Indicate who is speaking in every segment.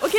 Speaker 1: Okej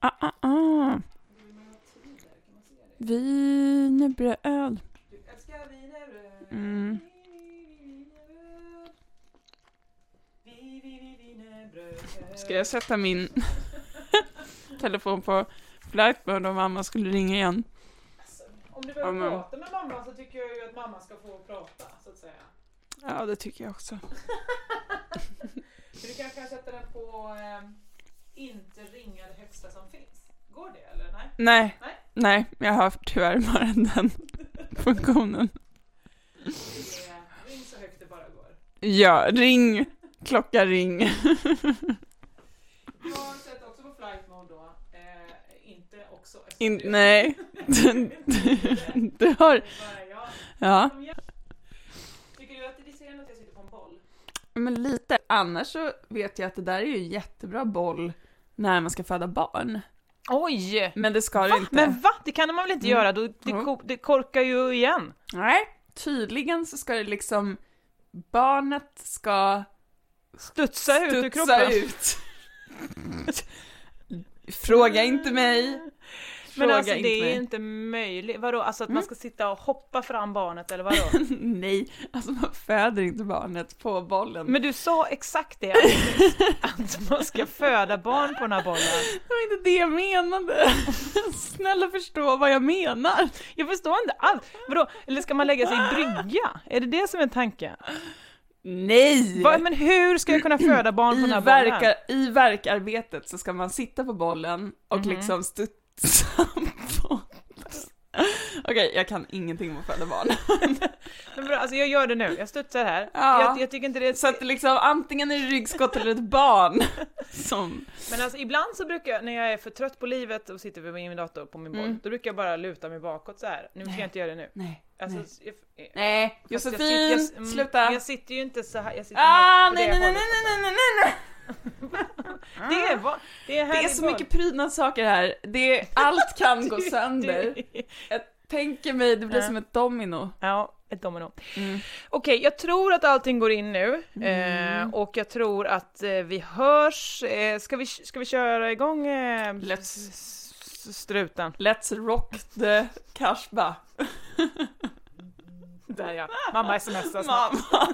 Speaker 2: Ah, ah, ah. Wienerbröd. Mm. Ska jag sätta min telefon på flight mode om mamma skulle ringa igen?
Speaker 3: Om du behöver
Speaker 2: Ja, men-
Speaker 3: prata med mamma så tycker jag ju att mamma ska få prata, så att säga.
Speaker 2: Ja, det tycker jag också.
Speaker 3: Så du kanske kan sätta den på eh, inte ringa det högsta som finns. Går det eller nej?
Speaker 2: Nej,
Speaker 3: Nej.
Speaker 2: nej, jag har tyvärr bara den funktionen.
Speaker 3: Det är, ring så högt det bara går.
Speaker 2: Ja, ring, klocka ring.
Speaker 3: Jag sätter också på flight mode då. Eh, inte också. eftersom
Speaker 2: In,
Speaker 3: du-
Speaker 2: nej, du, du, du har,
Speaker 3: Bara jag.
Speaker 2: ja.
Speaker 3: Tycker du att det ser ut att jag sitter på en boll?
Speaker 2: Men lite. Annars så vet jag att det där är ju en jättebra boll när man ska föda barn.
Speaker 3: Oj!
Speaker 2: Men det ska det inte.
Speaker 3: Men va? Det kan man väl inte
Speaker 2: Mm.
Speaker 3: göra? Då, det,
Speaker 2: Ja.
Speaker 3: ko- det korkar ju igen.
Speaker 2: Nej, tydligen så ska det liksom, barnet ska
Speaker 3: Studsa ut ur
Speaker 2: studsa
Speaker 3: kroppen.
Speaker 2: ut. Fråga inte mig. Fråga
Speaker 3: Men alltså
Speaker 2: inte
Speaker 3: det är
Speaker 2: mig. Mm.
Speaker 3: ju inte möjligt. Vadå, alltså att man ska sitta och hoppa fram barnet eller vadå?
Speaker 2: Nej, alltså man föder inte barnet på bollen.
Speaker 3: Men du sa exakt det alldeles nyss, att man ska föda barn på den här bollen.
Speaker 2: Det var inte det jag menade. Snälla förstå vad jag menar.
Speaker 3: Jag förstår inte alls. Vadå, eller ska man lägga sig i brygga? Är det det som är tanken?
Speaker 2: Nej!
Speaker 3: Va, men hur ska jag kunna föda barn på
Speaker 2: I,
Speaker 3: den här bollen?
Speaker 2: verkar, I verkarbetet så ska man sitta på bollen och liksom studsa på Okej, jag kan ingenting om att föda barn.
Speaker 3: Men vadå, alltså jag gör det nu, jag studsar här.
Speaker 2: Ja.
Speaker 3: Jag, jag tycker inte det är...
Speaker 2: Så att det liksom antingen är det ryggskott eller ett barn som...
Speaker 3: Men alltså ibland så brukar jag, när jag är för trött på livet och sitter vid min dator på min boll,
Speaker 2: Mm.
Speaker 3: då brukar jag bara luta mig bakåt så här. nu ska jag inte göra det nu.
Speaker 2: Nej,
Speaker 3: Alltså,
Speaker 2: nej.
Speaker 3: jag, jag,
Speaker 2: Nej,
Speaker 3: fast jag
Speaker 2: Josefin,
Speaker 3: sit- jag- mm,
Speaker 2: sluta.
Speaker 3: Jag sitter ju inte så här, jag sitter
Speaker 2: ah,
Speaker 3: på
Speaker 2: nej,
Speaker 3: det
Speaker 2: nej, nej, nej, nej,
Speaker 3: hållet.
Speaker 2: nej, nej, nej.
Speaker 3: Det är, va, det är,
Speaker 2: Det är
Speaker 3: härligt
Speaker 2: så
Speaker 3: boll.
Speaker 2: mycket prydnadssaker här. Det är, allt kan gå sönder. Jag tänker mig, det blir
Speaker 3: Ja.
Speaker 2: som ett domino.
Speaker 3: Ja, ett domino.
Speaker 2: Mm.
Speaker 3: Okej, jag tror att allting går in nu
Speaker 2: Mm.
Speaker 3: eh, och jag tror att eh, vi hörs. Eh, ska, vi, ska vi köra igång eh,
Speaker 2: Let's-
Speaker 3: s- struten?
Speaker 2: Let's rock the cashba.
Speaker 3: Där ja, mamma smsar snart.
Speaker 2: Mamma.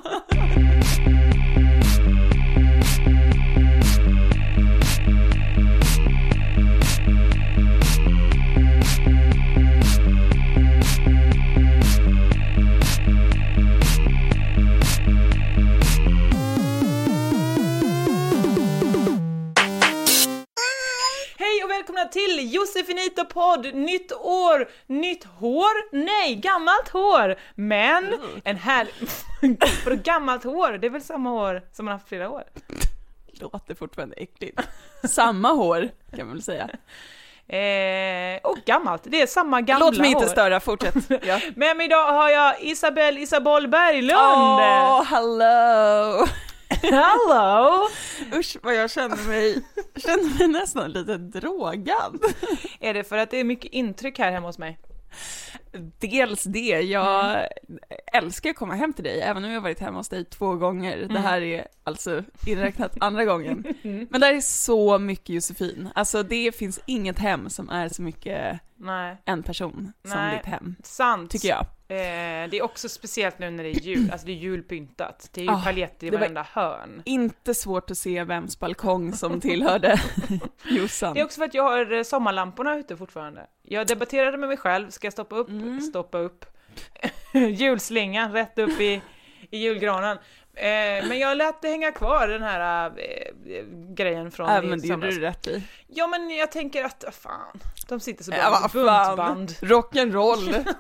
Speaker 3: Hej och välkomna till Josefinito podd! Nytt år, nytt hår, nej gammalt hår! Men en härlig... Vadå gammalt hår? Det är väl samma hår som man haft flera år?
Speaker 2: Låter fortfarande äckligt. Samma hår kan man väl säga.
Speaker 3: Eh, och gammalt, det är samma gamla
Speaker 2: Låt mig inte
Speaker 3: hår.
Speaker 2: störa, fortsätt. Ja.
Speaker 3: Med mig idag har jag Isabelle Isabel Berglund!
Speaker 2: Åh, hello!
Speaker 3: Hello!
Speaker 2: Usch vad jag känner mig, känner mig nästan lite drogad.
Speaker 3: Är det för att det är mycket intryck här hemma hos mig?
Speaker 2: Dels det, jag älskar att komma hem till dig, även om jag har varit hemma hos dig två gånger. Det här är alltså inräknat andra gången. Men det här är så mycket Josefin. Alltså det finns inget hem som är så mycket
Speaker 3: Nej,
Speaker 2: en person som
Speaker 3: Nej.
Speaker 2: ditt hem,
Speaker 3: sant.
Speaker 2: tycker jag.
Speaker 3: Eh, det är också speciellt nu när det är jul, alltså det är julpyntat. Det är ju
Speaker 2: Ah,
Speaker 3: paljetter i
Speaker 2: det var-
Speaker 3: varenda hörn.
Speaker 2: Inte svårt att se vems balkong som tillhörde Jossan.
Speaker 3: Det är också för att jag har eh, sommarlamporna ute fortfarande. Jag debatterade med mig själv, ska jag stoppa upp?
Speaker 2: Mm.
Speaker 3: Stoppa upp. Julslingan rätt upp i, i julgranen. Eh, men jag lät det hänga kvar den här eh, grejen från
Speaker 2: Ja,
Speaker 3: i
Speaker 2: Äh, men det gjorde
Speaker 3: somras.
Speaker 2: du rätt i.
Speaker 3: Ja men jag tänker att, ah, fan, de sitter så bra
Speaker 2: Ja,
Speaker 3: med
Speaker 2: vad fan.
Speaker 3: buntband.
Speaker 2: Rock'n'roll.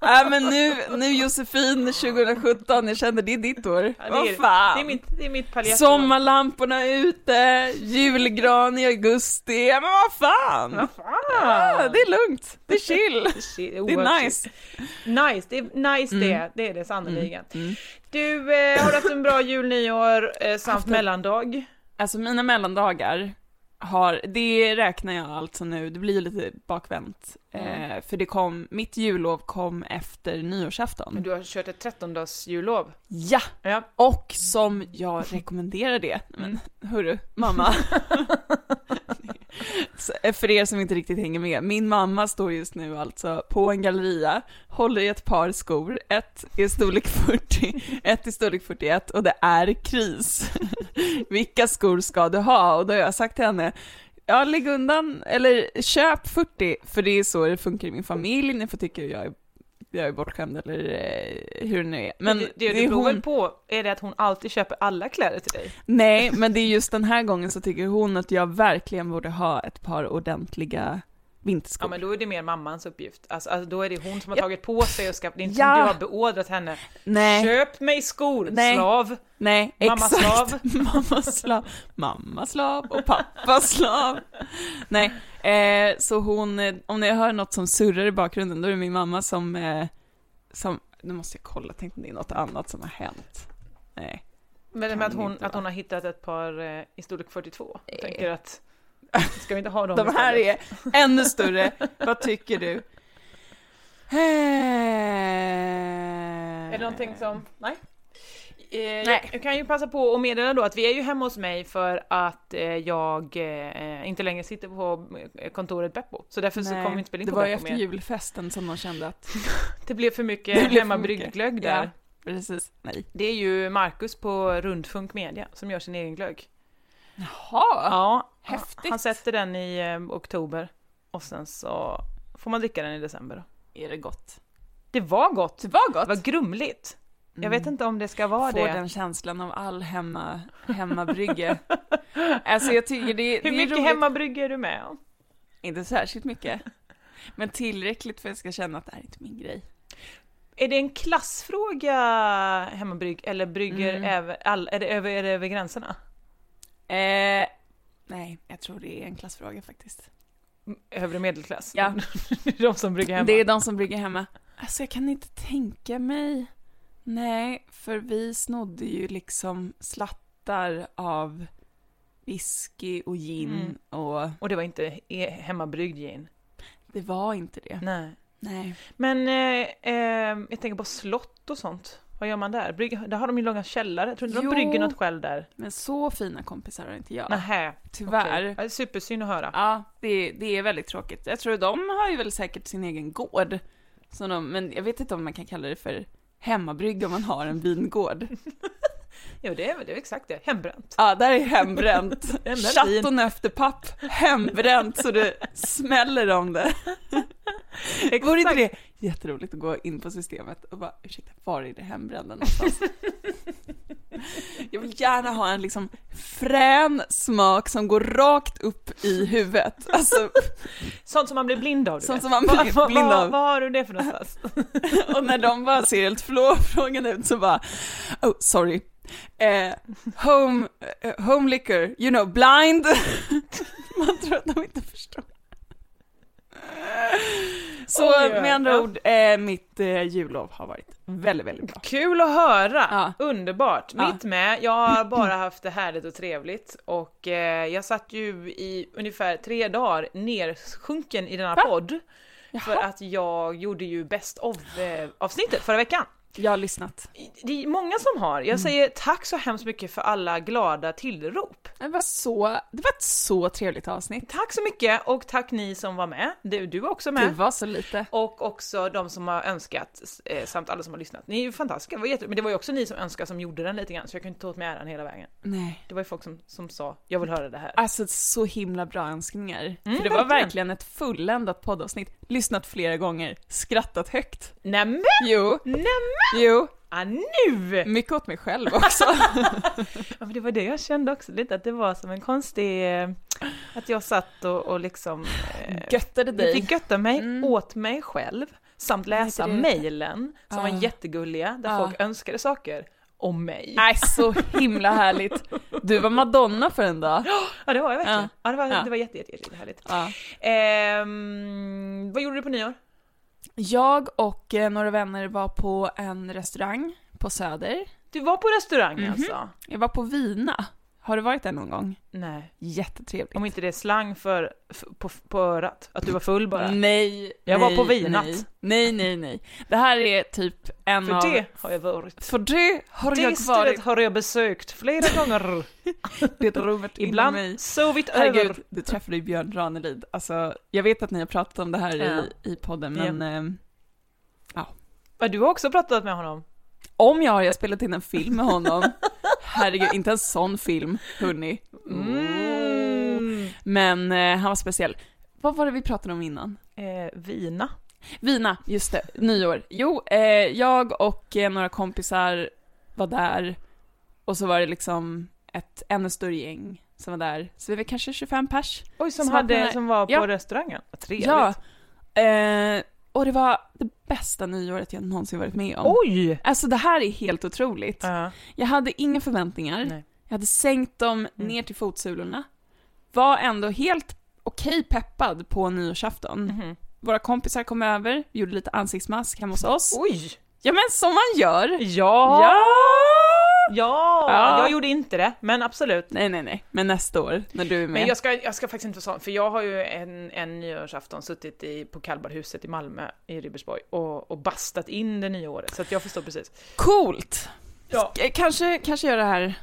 Speaker 2: Nej men nu, nu Josefin 2017, jag känner det är ditt år.
Speaker 3: Ja,
Speaker 2: Vad
Speaker 3: det, är,
Speaker 2: fan.
Speaker 3: det är mitt, det är mitt paljett.
Speaker 2: Sommarlamporna ute, julgran i augusti, Ja, men vad fan!
Speaker 3: Vad fan!
Speaker 2: Ja, det är lugnt, det är chill, det är nice. Mm.
Speaker 3: Nice, det är nice det, det är det sannerligen. Du, eh, har du haft en bra jul, nyår eh, samt mellandag?
Speaker 2: Alltså mina mellandagar har, det räknar jag alltså nu, det blir ju lite bakvänt. Eh, för det kom, mitt jullov kom efter nyårsafton.
Speaker 3: Men du har kört ett 13-dags jullov.
Speaker 2: Ja!
Speaker 3: Ja.
Speaker 2: Och som jag rekommenderar det. Men
Speaker 3: Mm.
Speaker 2: hörru, mamma. Så, eh, För er som inte riktigt hänger med, min mamma står just nu alltså på en galleria, håller i ett par skor, ett i storlek 40, ett i storlek 41 och det är kris. Vilka skor ska du ha? Och då har jag sagt till henne, ja lägg undan, eller köp 40, för det är så det funkar i min familj, ni får tycka jag är, jag är bortskämd eller eh, hur det nu är. Men
Speaker 3: det, det,
Speaker 2: är
Speaker 3: beror
Speaker 2: hon-
Speaker 3: väl på, är det att hon alltid köper alla kläder till dig?
Speaker 2: Nej, men det är just den här gången så tycker hon att jag verkligen borde ha ett par ordentliga vinterskor.
Speaker 3: Ja men då är det mer mammans uppgift. Alltså, alltså då är det hon som har tagit på sig och skaffat, det är inte
Speaker 2: Ja.
Speaker 3: som du har beordrat henne.
Speaker 2: nej,
Speaker 3: Köp mig skor,
Speaker 2: Nej.
Speaker 3: slav!
Speaker 2: nej,
Speaker 3: Mamma
Speaker 2: exakt.
Speaker 3: slav.
Speaker 2: Mamma slav. Mamma slav och pappa slav. Nej, eh, så hon, eh, om jag hör något som surrar i bakgrunden, då är det min mamma som, eh, som nu måste jag kolla, tänk om det är något annat som har hänt. Nej.
Speaker 3: Men
Speaker 2: Kan
Speaker 3: med att hon,
Speaker 2: inte, Eh.
Speaker 3: att hon har hittat ett par eh, i storlek 42, Jag tänker att ska vi inte ha dem
Speaker 2: De här
Speaker 3: istället?
Speaker 2: är ännu större. Vad tycker du? Eh. Är
Speaker 3: Är det någonting som, nej? Eh,
Speaker 2: Nej.
Speaker 3: Jag, jag kan ju passa på att meddela då att vi är ju hemma hos mig för att eh, jag eh, inte längre sitter på eh, kontoret Beppo. Så därför så
Speaker 2: Nej,
Speaker 3: kommer vi inte spela in
Speaker 2: Det
Speaker 3: på
Speaker 2: var ju
Speaker 3: Beppo
Speaker 2: efter
Speaker 3: mer.
Speaker 2: julfesten som de kände att...
Speaker 3: Det blev för mycket
Speaker 2: Det blev för
Speaker 3: hemmabryggd
Speaker 2: mycket.
Speaker 3: glögg där.
Speaker 2: Ja, precis. Nej.
Speaker 3: Det är ju Marcus på Rundfunk Media som gör sin egen glögg.
Speaker 2: Jaha!
Speaker 3: Ja,
Speaker 2: häftigt.
Speaker 3: Han sätter den i eh, oktober och sen så får man dricka den i december. Då.
Speaker 2: Är det gott?
Speaker 3: Det var gott.
Speaker 2: Det var Mm.
Speaker 3: Det var grumligt. Jag vet inte om det ska vara
Speaker 2: Får
Speaker 3: det.
Speaker 2: den känslan av all hemma, hemmabrygge. alltså jag tycker det, det
Speaker 3: Hur
Speaker 2: är
Speaker 3: mycket
Speaker 2: roligt.
Speaker 3: hemmabrygg är du med om?
Speaker 2: Inte särskilt mycket. Men tillräckligt för att jag ska känna att det här är inte min grej.
Speaker 3: Är det en klassfråga hemmabrygg eller brygger
Speaker 2: Mm.
Speaker 3: över, all, är, det över, är det över gränserna?
Speaker 2: Eh, nej, jag tror det är en klassfråga faktiskt.
Speaker 3: Övre medelklass?
Speaker 2: Ja.
Speaker 3: Det är de som brygger hemma.
Speaker 2: Det är de som brygger hemma. Alltså jag kan inte tänka mig. Nej, för vi snodde ju liksom slattar av whisky och gin
Speaker 3: Mm.
Speaker 2: och
Speaker 3: Och det var inte e- hemmabryggd gin?
Speaker 2: det var inte det.
Speaker 3: Nej.
Speaker 2: Nej.
Speaker 3: Men eh, eh, jag tänker på slott och sånt. Vad gör man där? Brygg, där har de ju långa källare. Tror inte
Speaker 2: Jo.
Speaker 3: de brygger något själv där?
Speaker 2: Men så fina kompisar har inte jag.
Speaker 3: Nähä.
Speaker 2: Tyvärr.
Speaker 3: okej. Ja, det är Supersynd att höra.
Speaker 2: Ja, det, det är väldigt tråkigt. Jag tror de har ju väl säkert sin egen gård. Som de, men jag vet inte om man kan kalla det för hemmabrygg om man har en vingård.
Speaker 3: Jo, det är, det är exakt det. Hembränt.
Speaker 2: Ja, där är hembränt.
Speaker 3: Hembränt
Speaker 2: Chatton efter papp, hembränt så det smäller om det. Vore inte det jätteroligt att gå in på systemet och bara ursäkta, var är det hembrända någonstans? Jag vill gärna ha en liksom frän smak som går rakt upp i huvudet. Alltså,
Speaker 3: Sånt som man blir blind av, du
Speaker 2: sånt
Speaker 3: vet.
Speaker 2: som man blir
Speaker 3: Vad-
Speaker 2: blind
Speaker 3: vad-
Speaker 2: av.
Speaker 3: Vad har du det för någonstans?
Speaker 2: Och när de bara ser helt förlovade ut så bara, oh sorry. Eh, home, eh, home liquor, you know, blind. Man tror att de inte förstår. Så
Speaker 3: Oj, oj,
Speaker 2: med andra
Speaker 3: ja.
Speaker 2: ord, eh, mitt eh, jullov har varit väldigt, väldigt bra.
Speaker 3: Kul att höra!
Speaker 2: Ja.
Speaker 3: Underbart!
Speaker 2: Ja.
Speaker 3: Mitt med. Jag har bara haft det härligt och trevligt och eh, jag satt ju i ungefär tre dagar nersjunken i denna podd. För att jag gjorde ju best of eh, avsnittet förra veckan.
Speaker 2: Jag har lyssnat.
Speaker 3: Det är många som har.
Speaker 2: Mm.
Speaker 3: Jag säger tack så hemskt mycket för alla glada tillrop.
Speaker 2: Det var, så, det var ett så trevligt avsnitt.
Speaker 3: Tack så mycket och tack ni som var med. Du, du var också
Speaker 2: Det
Speaker 3: med.
Speaker 2: var så lite.
Speaker 3: Och också de som har önskat eh, samt alla som har lyssnat. Ni är ju fantastiska, det var jätte... men det var ju också ni som önskade som gjorde den lite grann så jag kan inte ta åt mig äran hela vägen.
Speaker 2: Nej.
Speaker 3: Det var ju folk som, som sa jag vill höra det här.
Speaker 2: Alltså så himla bra önskningar. För det var
Speaker 3: verkligen.
Speaker 2: Mm, verkligen ett fulländat poddavsnitt. Lyssnat flera gånger, skrattat högt.
Speaker 3: Nämen!
Speaker 2: Jo,
Speaker 3: Nämen!
Speaker 2: jo.
Speaker 3: Ah, nu!
Speaker 2: Mycket åt mig själv också.
Speaker 3: Ja, men det var det jag kände också lite, att det var som en konstig... eh, Att jag satt och, och liksom... eh,
Speaker 2: Göttade
Speaker 3: Jag
Speaker 2: dig.
Speaker 3: fick götta mig åt mig själv samt läsa
Speaker 2: det är det.
Speaker 3: mejlen som
Speaker 2: Ah.
Speaker 3: var jättegulliga där
Speaker 2: Ah.
Speaker 3: folk önskade saker om mig.
Speaker 2: Nej, så himla härligt. Du var Madonna för en dag.
Speaker 3: Ja det var jag verkligen.
Speaker 2: Ja.
Speaker 3: Ja, det var,
Speaker 2: Ja.
Speaker 3: det var jätte, jätte, jätte härligt.
Speaker 2: Ja.
Speaker 3: Ehm, vad gjorde du på nyår?
Speaker 2: Jag och eh, några vänner var på en restaurang på Söder.
Speaker 3: Du var på restaurang alltså?
Speaker 2: Jag var på Vina. Har du varit där någon gång?
Speaker 3: Nej.
Speaker 2: Jättetrevligt.
Speaker 3: Om inte det är slang för, f- på, på örat, att du var full bara.
Speaker 2: Nej,
Speaker 3: Jag
Speaker 2: nej,
Speaker 3: var på Vinat.
Speaker 2: Nej, nej, nej, nej. Det här är typ en
Speaker 3: För
Speaker 2: av...
Speaker 3: det har jag varit.
Speaker 2: För det har
Speaker 3: Det
Speaker 2: jag
Speaker 3: stället
Speaker 2: varit.
Speaker 3: har jag besökt flera gånger.
Speaker 2: Det drog in i mig.
Speaker 3: Ibland sovit över.
Speaker 2: Herregud, du träffade ju Björn Ranelid. Alltså, jag vet att ni har pratat om det här i, i podden, men ehm,
Speaker 3: Ja, Du har också pratat med honom.
Speaker 2: om jag har, jag har spelat in en film med honom. Herregud, inte en sån film, hörni.
Speaker 3: Mm.
Speaker 2: Men eh, han var speciell. Vad var det vi pratade om innan?
Speaker 3: Eh, vina.
Speaker 2: Vina, just det, nyår. Jo, eh, jag och eh, några kompisar var där och så var det liksom ett ännu större gäng som var där. Så vi var kanske 25 pers.
Speaker 3: Oj, som,
Speaker 2: Som var på den
Speaker 3: hade,
Speaker 2: här-
Speaker 3: som var på
Speaker 2: Ja.
Speaker 3: restaurangen. Vad Trevligt.
Speaker 2: Ja. Eh, och det var det bästa nyåret jag någonsin varit med om.
Speaker 3: Oj!
Speaker 2: Alltså det här är helt otroligt.
Speaker 3: Ja.
Speaker 2: Jag hade inga förväntningar.
Speaker 3: Nej. Mm.
Speaker 2: Jag hade sänkt dem ner till fotsulorna. Var ändå helt okej peppad på nyårsafton.
Speaker 3: Mhm.
Speaker 2: Våra kompisar kom över, gjorde lite ansiktsmask hemma hos oss.
Speaker 3: Oj!
Speaker 2: Ja men som man gör!
Speaker 3: Ja.
Speaker 2: Ja!
Speaker 3: Ja,
Speaker 2: Ja.
Speaker 3: jag gjorde inte det, men absolut.
Speaker 2: Nej nej nej, men nästa år när du är med.
Speaker 3: Men jag ska, jag ska faktiskt inte vara sån, för jag har ju en, en nyårsafton suttit i, på Kalmarhuset i Malmö, i Ribersborg, och, och bastat in det nya året. Så att jag förstår precis.
Speaker 2: Coolt!
Speaker 3: Ja.
Speaker 2: K- Kanske, kanske gör det här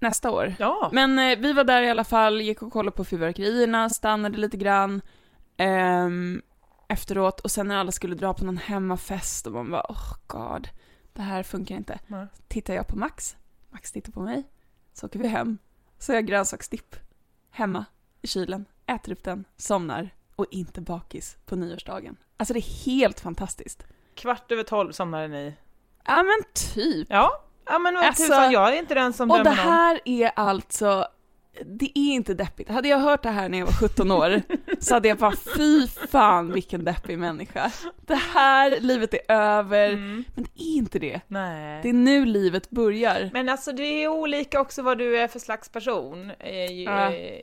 Speaker 2: nästa år.
Speaker 3: Ja.
Speaker 2: Men eh, vi var där i alla fall, gick och kollade på fyrverkerierna, stannade lite grann ehm, efteråt och sen när alla skulle dra på någon hemmafest och man bara oh god, det här funkar inte.
Speaker 3: Nej.
Speaker 2: Tittar jag på Max, Max tittar på mig, så åker vi hem, så gör jag grönsaksdipp hemma i kylen, äter upp den, somnar och inte bakis på nyårsdagen. Alltså det är helt fantastiskt.
Speaker 3: Kvart över tolv somnade ni.
Speaker 2: Ja men typ.
Speaker 3: Ja, ja men vad
Speaker 2: Alltså-
Speaker 3: tusan, jag är inte den som
Speaker 2: Och det
Speaker 3: dömer någon.
Speaker 2: här är alltså, det är inte deppigt. Hade jag hört det här när jag var 17 år så hade jag bara fy fan vilken deppig människa. Det här, livet är över. Men det är inte det.
Speaker 3: Mm. Nej.
Speaker 2: Det är nu livet börjar.
Speaker 3: Men alltså det är olika också vad du är för slags person. Eh,
Speaker 2: Ja.
Speaker 3: eh,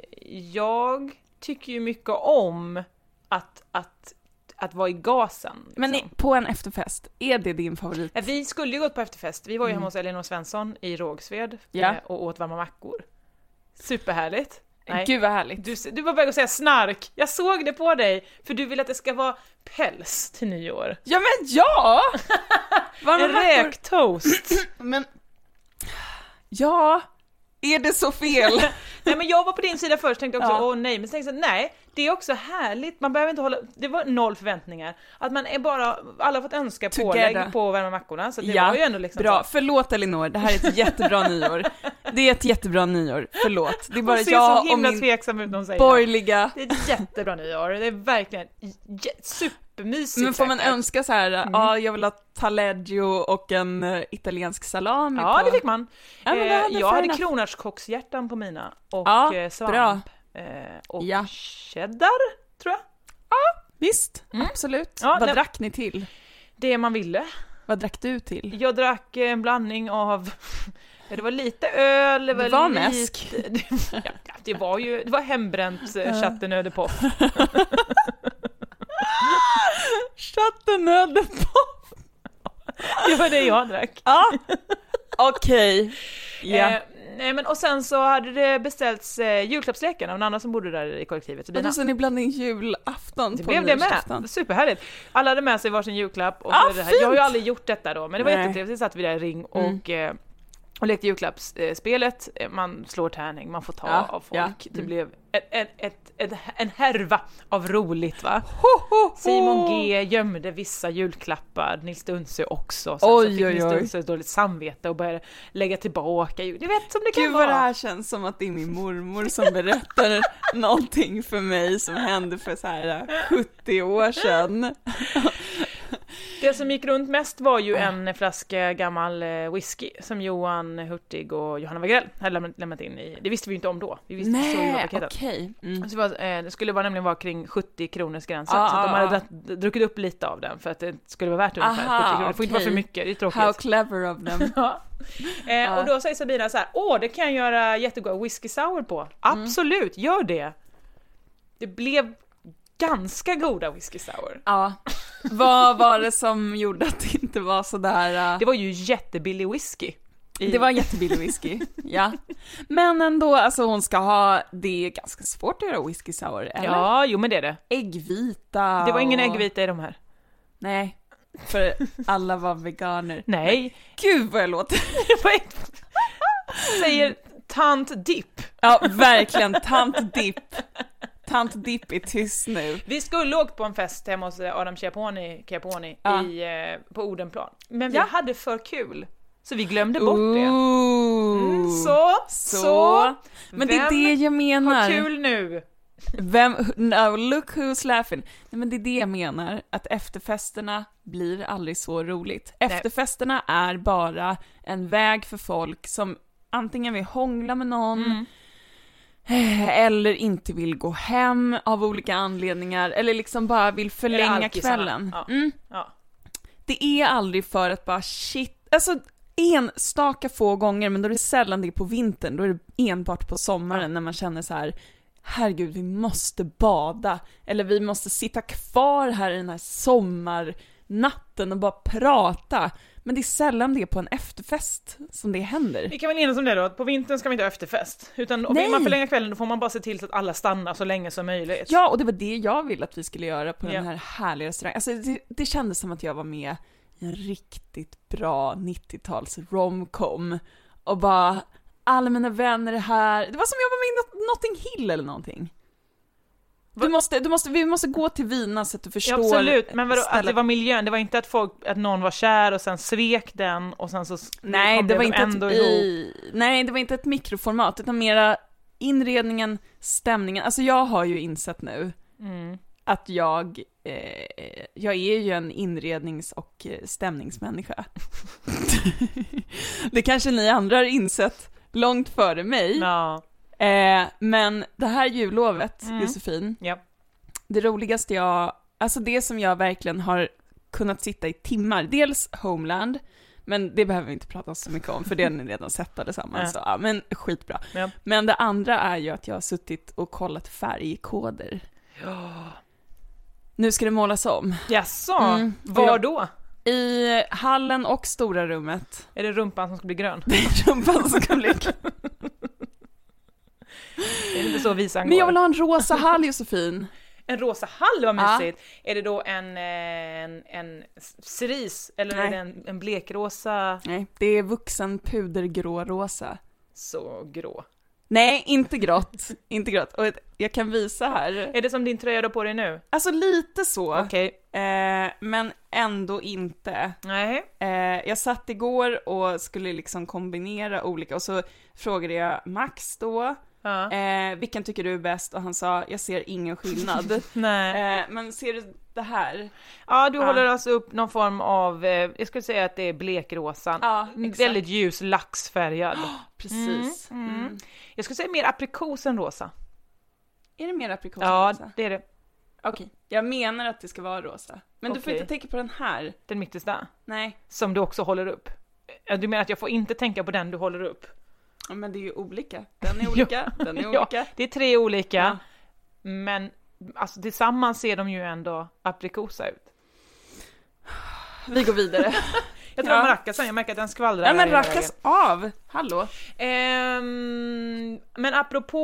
Speaker 3: Jag tycker ju mycket om att, att, att vara i gasen. Liksom.
Speaker 2: Men i- på en efterfest, är det din favorit?
Speaker 3: Eh, Vi skulle ju gått på efterfest, vi var ju hemma hos Elinor Svensson i Rågsved eh,
Speaker 2: Mm. Ja.
Speaker 3: och åt varma mackor. Superhärligt! Nej.
Speaker 2: Eh, Gud vad härligt.
Speaker 3: Du, du var på väg att säga snark, jag såg det på dig! För du vill att det ska vara päls till nyår.
Speaker 2: Ja men ja! Varma
Speaker 3: En
Speaker 2: mackor.
Speaker 3: räktoast!
Speaker 2: Men... Ja, är det så fel?
Speaker 3: Nej men jag var på din sida först tänkte också
Speaker 2: Ja.
Speaker 3: åh nej, men sen tänkte jag nej, det är också härligt, man behöver inte hålla, det var noll förväntningar. Att man är bara, alla har fått önska
Speaker 2: Together.
Speaker 3: pålägg på att värma mackorna, så det var ju ändå liksom
Speaker 2: bra.
Speaker 3: så.
Speaker 2: Förlåt Elinor, det här är ett jättebra nyår. Det är ett jättebra nyår, förlåt. Det är bara
Speaker 3: Hon ser så
Speaker 2: jag och
Speaker 3: himla
Speaker 2: min
Speaker 3: tveksam ut när hon säger det.
Speaker 2: borgerliga...
Speaker 3: Det är ett jättebra nyår, det är verkligen j- supermysigt.
Speaker 2: Men får man
Speaker 3: säkert.
Speaker 2: önska så här, ja jag vill ha taleggio och en eh, italiensk salami
Speaker 3: Ja
Speaker 2: på...
Speaker 3: det fick man.
Speaker 2: Ja, men det
Speaker 3: Eh,
Speaker 2: hade
Speaker 3: jag hade
Speaker 2: fair
Speaker 3: kronärtskockshjärtan på mina och
Speaker 2: Ja,
Speaker 3: eh, svamp.
Speaker 2: bra.
Speaker 3: Eh, Och
Speaker 2: Ja.
Speaker 3: cheddar, tror jag.
Speaker 2: Visst, absolut.
Speaker 3: Mm. Ja,
Speaker 2: Vad
Speaker 3: nej-
Speaker 2: drack ni till?
Speaker 3: Det man ville.
Speaker 2: Vad drack du till?
Speaker 3: Jag drack eh, en blandning av, ja, det var lite öl, det var,
Speaker 2: Det var
Speaker 3: lite,
Speaker 2: mäsk.
Speaker 3: Ja, ja, det var ju, det var hembränt eh, chattenödepoff.
Speaker 2: Chattenöde på...
Speaker 3: Det var det jag drack.
Speaker 2: Ja, okej. Ja.
Speaker 3: Eh, nej men och sen så hade det beställts eh, julklappsleken av en annan som bodde där i kollektivet. Så dina.
Speaker 2: Och så ni blandade in julafton
Speaker 3: Det
Speaker 2: på
Speaker 3: blev det
Speaker 2: nyårsafton.
Speaker 3: med, superhärligt! Alla hade med sig varsin julklapp och
Speaker 2: Ah,
Speaker 3: så det här. jag har ju
Speaker 2: fint!
Speaker 3: aldrig gjort detta då men det var
Speaker 2: Nej. Mm.
Speaker 3: jättetrevligt, så satt vi där i ring och, eh, och lekte julklappsspelet, Eh, man slår tärning, man får ta
Speaker 2: Ja,
Speaker 3: av folk,
Speaker 2: ja. Mm.
Speaker 3: det blev en, en, ett, en, en härva av roligt va! Simon G gömde vissa julklappar, Nils Dunse också, sen så
Speaker 2: Oj,
Speaker 3: fick
Speaker 2: oj,
Speaker 3: Nils
Speaker 2: oj.
Speaker 3: Dunse ett dåligt samvete och började lägga tillbaka jul, ni vet som det kan
Speaker 2: Gud
Speaker 3: vara!
Speaker 2: vad det här känns som att det är min mormor som berättar någonting för mig som hände för så här eh, 70 år sedan.
Speaker 3: Det som gick runt mest var
Speaker 2: Ah.
Speaker 3: ju en flaska gammal eh, whisky som Johan Hurtig och Johanna Wagrell hade lämnat, lämnat in i. Det visste vi ju inte om då. Vi visste så ju paketet.
Speaker 2: okej. Mm.
Speaker 3: Så det, var, eh, det skulle vara nämligen vara kring 70 kronors gränsen
Speaker 2: Ah,
Speaker 3: så att de
Speaker 2: ah,
Speaker 3: hade
Speaker 2: ah.
Speaker 3: dratt- druckit upp lite av den för att det skulle vara värt ungefär
Speaker 2: Aha,
Speaker 3: 70 kronor. Det får inte vara för
Speaker 2: okej. Ah.
Speaker 3: mycket, det är tråkigt.
Speaker 2: How clever of them.
Speaker 3: Ja. Eh, och då säger Sabina så här, åh det kan jag göra jättegod whisky sour på.
Speaker 2: Mm.
Speaker 3: Absolut, gör det! Det blev ganska goda whisky sour.
Speaker 2: Ja. Vad var det som gjorde att det inte var sådär... eh,
Speaker 3: Det var ju jättebillig whisky.
Speaker 2: Det var en jättebillig whisky, ja. Men ändå, alltså hon ska ha, det är ganska svårt att göra whisky sour, eller?
Speaker 3: Ja, jo men det är det.
Speaker 2: Äggvita
Speaker 3: Det var ingen
Speaker 2: och-
Speaker 3: äggvita i de här.
Speaker 2: Nej, för alla var veganer.
Speaker 3: Nej.
Speaker 2: Gud vad jag låter!
Speaker 3: Vad är- Säger tant Dipp.
Speaker 2: Ja, verkligen, tant Dipp. Tant Dipp är tyst nu.
Speaker 3: Vi skulle åkt på en fest hemma hos eh, Adam Chiapponi, Chiapponi
Speaker 2: Ja.
Speaker 3: i, eh, på Odenplan. Men vi
Speaker 2: Ja.
Speaker 3: hade för kul. Så vi glömde bort det.
Speaker 2: Ooh.
Speaker 3: Mm, Så, så,
Speaker 2: Så. Men det är det jag menar.
Speaker 3: har kul nu?
Speaker 2: Vem, no, look who's laughing. Nej, men det är det jag menar, att efterfesterna blir aldrig så roligt. Efterfesterna är bara en väg för folk som antingen vill hångla med någon,
Speaker 3: Mm.
Speaker 2: eh, eller inte vill gå hem av olika anledningar, eller liksom bara vill
Speaker 3: Eller
Speaker 2: förlänga
Speaker 3: alkisarna.
Speaker 2: kvällen.
Speaker 3: Ja.
Speaker 2: Mm.
Speaker 3: Ja.
Speaker 2: Det är aldrig för att bara shit, alltså enstaka få gånger, men då är det sällan det är på vintern, då är det enbart på sommaren när man känner så här herregud, vi måste bada, eller vi måste sitta kvar här i den här sommarnatten och bara prata. Men det är sällan det är på en efterfest som det händer.
Speaker 3: Vi kan väl enas om det då, att på vintern ska man inte ha efterfest. Utan om
Speaker 2: Nej.
Speaker 3: vill man förlänga kvällen då får man bara se till så att alla stannar så länge som möjligt.
Speaker 2: Ja, och det var det jag ville att vi skulle göra på
Speaker 3: Ja.
Speaker 2: den här härliga restaurangen. Alltså, det, det kändes som att jag var med i en riktigt bra 90-tals romcom och bara alla mina vänner är här. Det var som jag var med i Not- Notting Hill eller någonting. Du måste, du måste, vi måste gå till Vina så att du
Speaker 3: Ja,
Speaker 2: förstår.
Speaker 3: absolut, men vadå, att
Speaker 2: stället.
Speaker 3: det var miljön, det var inte att, folk, att någon var kär och sen svek den och sen så s-
Speaker 2: Nej,
Speaker 3: kom
Speaker 2: det var
Speaker 3: de
Speaker 2: inte
Speaker 3: ändå
Speaker 2: ett,
Speaker 3: ihop.
Speaker 2: i, nej, det var inte ett mikroformat, utan mera inredningen, stämningen. Alltså jag har ju insett nu
Speaker 3: Mm.
Speaker 2: att jag, eh, jag är ju en inrednings och eh, stämningsmänniska. det kanske ni andra har insett långt före mig,
Speaker 3: Ja,
Speaker 2: eh, men det här jullovet, Josefin,
Speaker 3: Mm. ja.
Speaker 2: det roligaste jag, alltså det som jag verkligen har kunnat sitta i timmar, dels Homeland, men det behöver vi inte prata så mycket om för det har ni redan sett allesammans. Så, ja, men skitbra.
Speaker 3: Ja.
Speaker 2: Men det andra är ju att jag har suttit och kollat färgkoder. Nu ska det målas om.
Speaker 3: Jaså,
Speaker 2: Mm,
Speaker 3: var
Speaker 2: jag-
Speaker 3: då?
Speaker 2: I hallen och stora rummet.
Speaker 3: Är det rumpan som ska bli grön?
Speaker 2: Rumpan ska bli
Speaker 3: Det är inte så visan
Speaker 2: Men jag
Speaker 3: går.
Speaker 2: vill ha en rosa hall Josefin.
Speaker 3: En rosa hall, vad
Speaker 2: Ja.
Speaker 3: mysigt! Är det då en, eh, en, en s- cerise eller
Speaker 2: Nej.
Speaker 3: är det en, en blekrosa,
Speaker 2: Nej, det är vuxen pudergrå rosa.
Speaker 3: så grå?
Speaker 2: Nej, inte grått. Inte grått. Och jag kan visa här.
Speaker 3: Är det som din tröja du har på dig nu?
Speaker 2: Alltså lite så.
Speaker 3: Okej,
Speaker 2: Eh, men ändå inte.
Speaker 3: nej.
Speaker 2: Eh, jag satt igår och skulle liksom kombinera olika och så frågade jag Max då,
Speaker 3: Ja.
Speaker 2: eh, vilken tycker du är bäst? Och han sa, jag ser ingen skillnad.
Speaker 3: Nej.
Speaker 2: eh, men ser du det här?
Speaker 3: Ja, du håller alltså upp någon form av, eh, jag skulle säga att det är blekrosan.
Speaker 2: Ja,
Speaker 3: Mm,
Speaker 2: exakt.
Speaker 3: Väldigt ljus laxfärgad.
Speaker 2: Precis. Mm.
Speaker 3: Jag skulle säga mer aprikos än rosa.
Speaker 2: Är det mer aprikos?
Speaker 3: Ja,
Speaker 2: än rosa?
Speaker 3: det är det.
Speaker 2: Okej. Jag menar att det ska vara rosa. Men du får
Speaker 3: Okej.
Speaker 2: inte tänka på den här.
Speaker 3: Den mittersta.
Speaker 2: Nej,
Speaker 3: Som du också håller upp. Ja, Du menar att jag får inte tänka på den du håller upp?
Speaker 2: Ja, men det är ju olika. Den är olika, den är olika.
Speaker 3: Ja, det är tre olika. Men alltså, tillsammans ser de ju ändå aprikosa ut.
Speaker 2: Vi går vidare.
Speaker 3: Jag tar
Speaker 2: Ja.
Speaker 3: ja. maracasen, jag märker att den skvallrar.
Speaker 2: Nej men
Speaker 3: här hela
Speaker 2: rackas av, hallå.
Speaker 3: Ehm, men apropå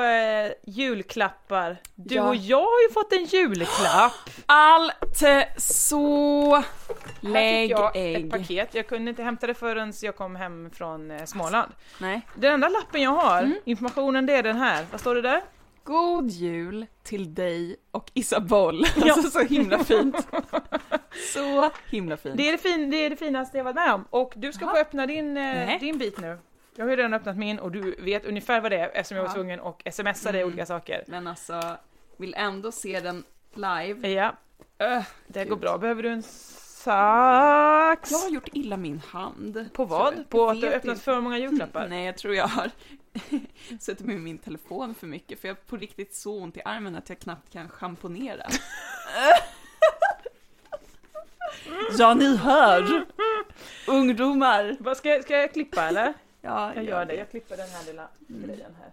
Speaker 3: eh, julklappar, du
Speaker 2: Ja.
Speaker 3: och jag har ju fått en julklapp.
Speaker 2: Allt så
Speaker 3: Här fick
Speaker 2: lägg
Speaker 3: jag ett
Speaker 2: ägg.
Speaker 3: paket, jag kunde inte hämta det förrän jag kom hem från eh, Småland.
Speaker 2: Nej.
Speaker 3: Den enda lappen jag har,
Speaker 2: Mm.
Speaker 3: informationen det är den här, vad står det där?
Speaker 2: God jul till dig och Isabelle. Alltså så himla fint. Så himla fint.
Speaker 3: Det är det, fin, det är det finaste jag varit med om och du ska få öppna din,
Speaker 2: Nej.
Speaker 3: eh, din bit nu. Jag har ju redan öppnat min och du vet ungefär vad det är eftersom jag var tvungen och smsa dig
Speaker 2: Mm.
Speaker 3: olika saker.
Speaker 2: Men alltså, vill ändå se den live.
Speaker 3: Ja,
Speaker 2: Öh,
Speaker 3: det går bra. Behöver du en sax?
Speaker 2: jag har gjort illa min hand.
Speaker 3: På
Speaker 2: Tror jag.
Speaker 3: vad? På
Speaker 2: Jag
Speaker 3: att du
Speaker 2: vet
Speaker 3: öppnat
Speaker 2: inte. Mm,
Speaker 3: för många julklappar?
Speaker 2: Nej, jag tror jag har suttit med min telefon för mycket, för jag har på riktigt så ont i armen att jag knappt kan schamponera. ja, ni hör! Ungdomar!
Speaker 3: Vad ska, jag- ska jag klippa eller?
Speaker 2: Ja, Mm.
Speaker 3: Jag gör det. Jag klipper den här lilla grejen här.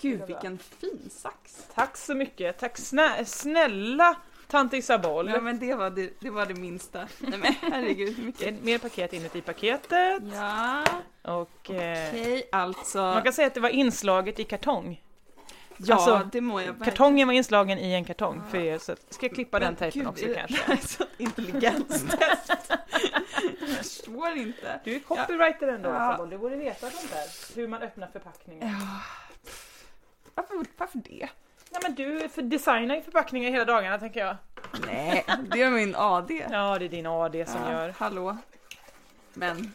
Speaker 2: Gud, vilken fin sax!
Speaker 3: Tack så mycket. Tack snä snälla tant Isabelle.
Speaker 2: Ja, men det var det, det, var det minsta. Nej men herregud, hur
Speaker 3: Det är
Speaker 2: mycket...
Speaker 3: mer paket inuti paketet
Speaker 2: Ja,
Speaker 3: och eh,
Speaker 2: okej, alltså.
Speaker 3: man kan säga att det var inslaget i kartong.
Speaker 2: Ja,
Speaker 3: alltså,
Speaker 2: det må jag verkligen.
Speaker 3: Kartongen var inslagen i en kartong för er, så att- ska jag klippa den tejpen också kanske?
Speaker 2: kanske. alltså, Intelligenstest. jag förstår inte.
Speaker 3: Du är copywriter ändå
Speaker 2: Ja.
Speaker 3: Isabelle, du borde veta sånt där. Hur man öppnar förpackningar.
Speaker 2: Varför, varför det?
Speaker 3: Nej men du för designar ju förpackningar hela dagarna tänker jag.
Speaker 2: Nej, det är min AD.
Speaker 3: Ja det är din AD som
Speaker 2: Ja,
Speaker 3: gör.
Speaker 2: Hallå. Men.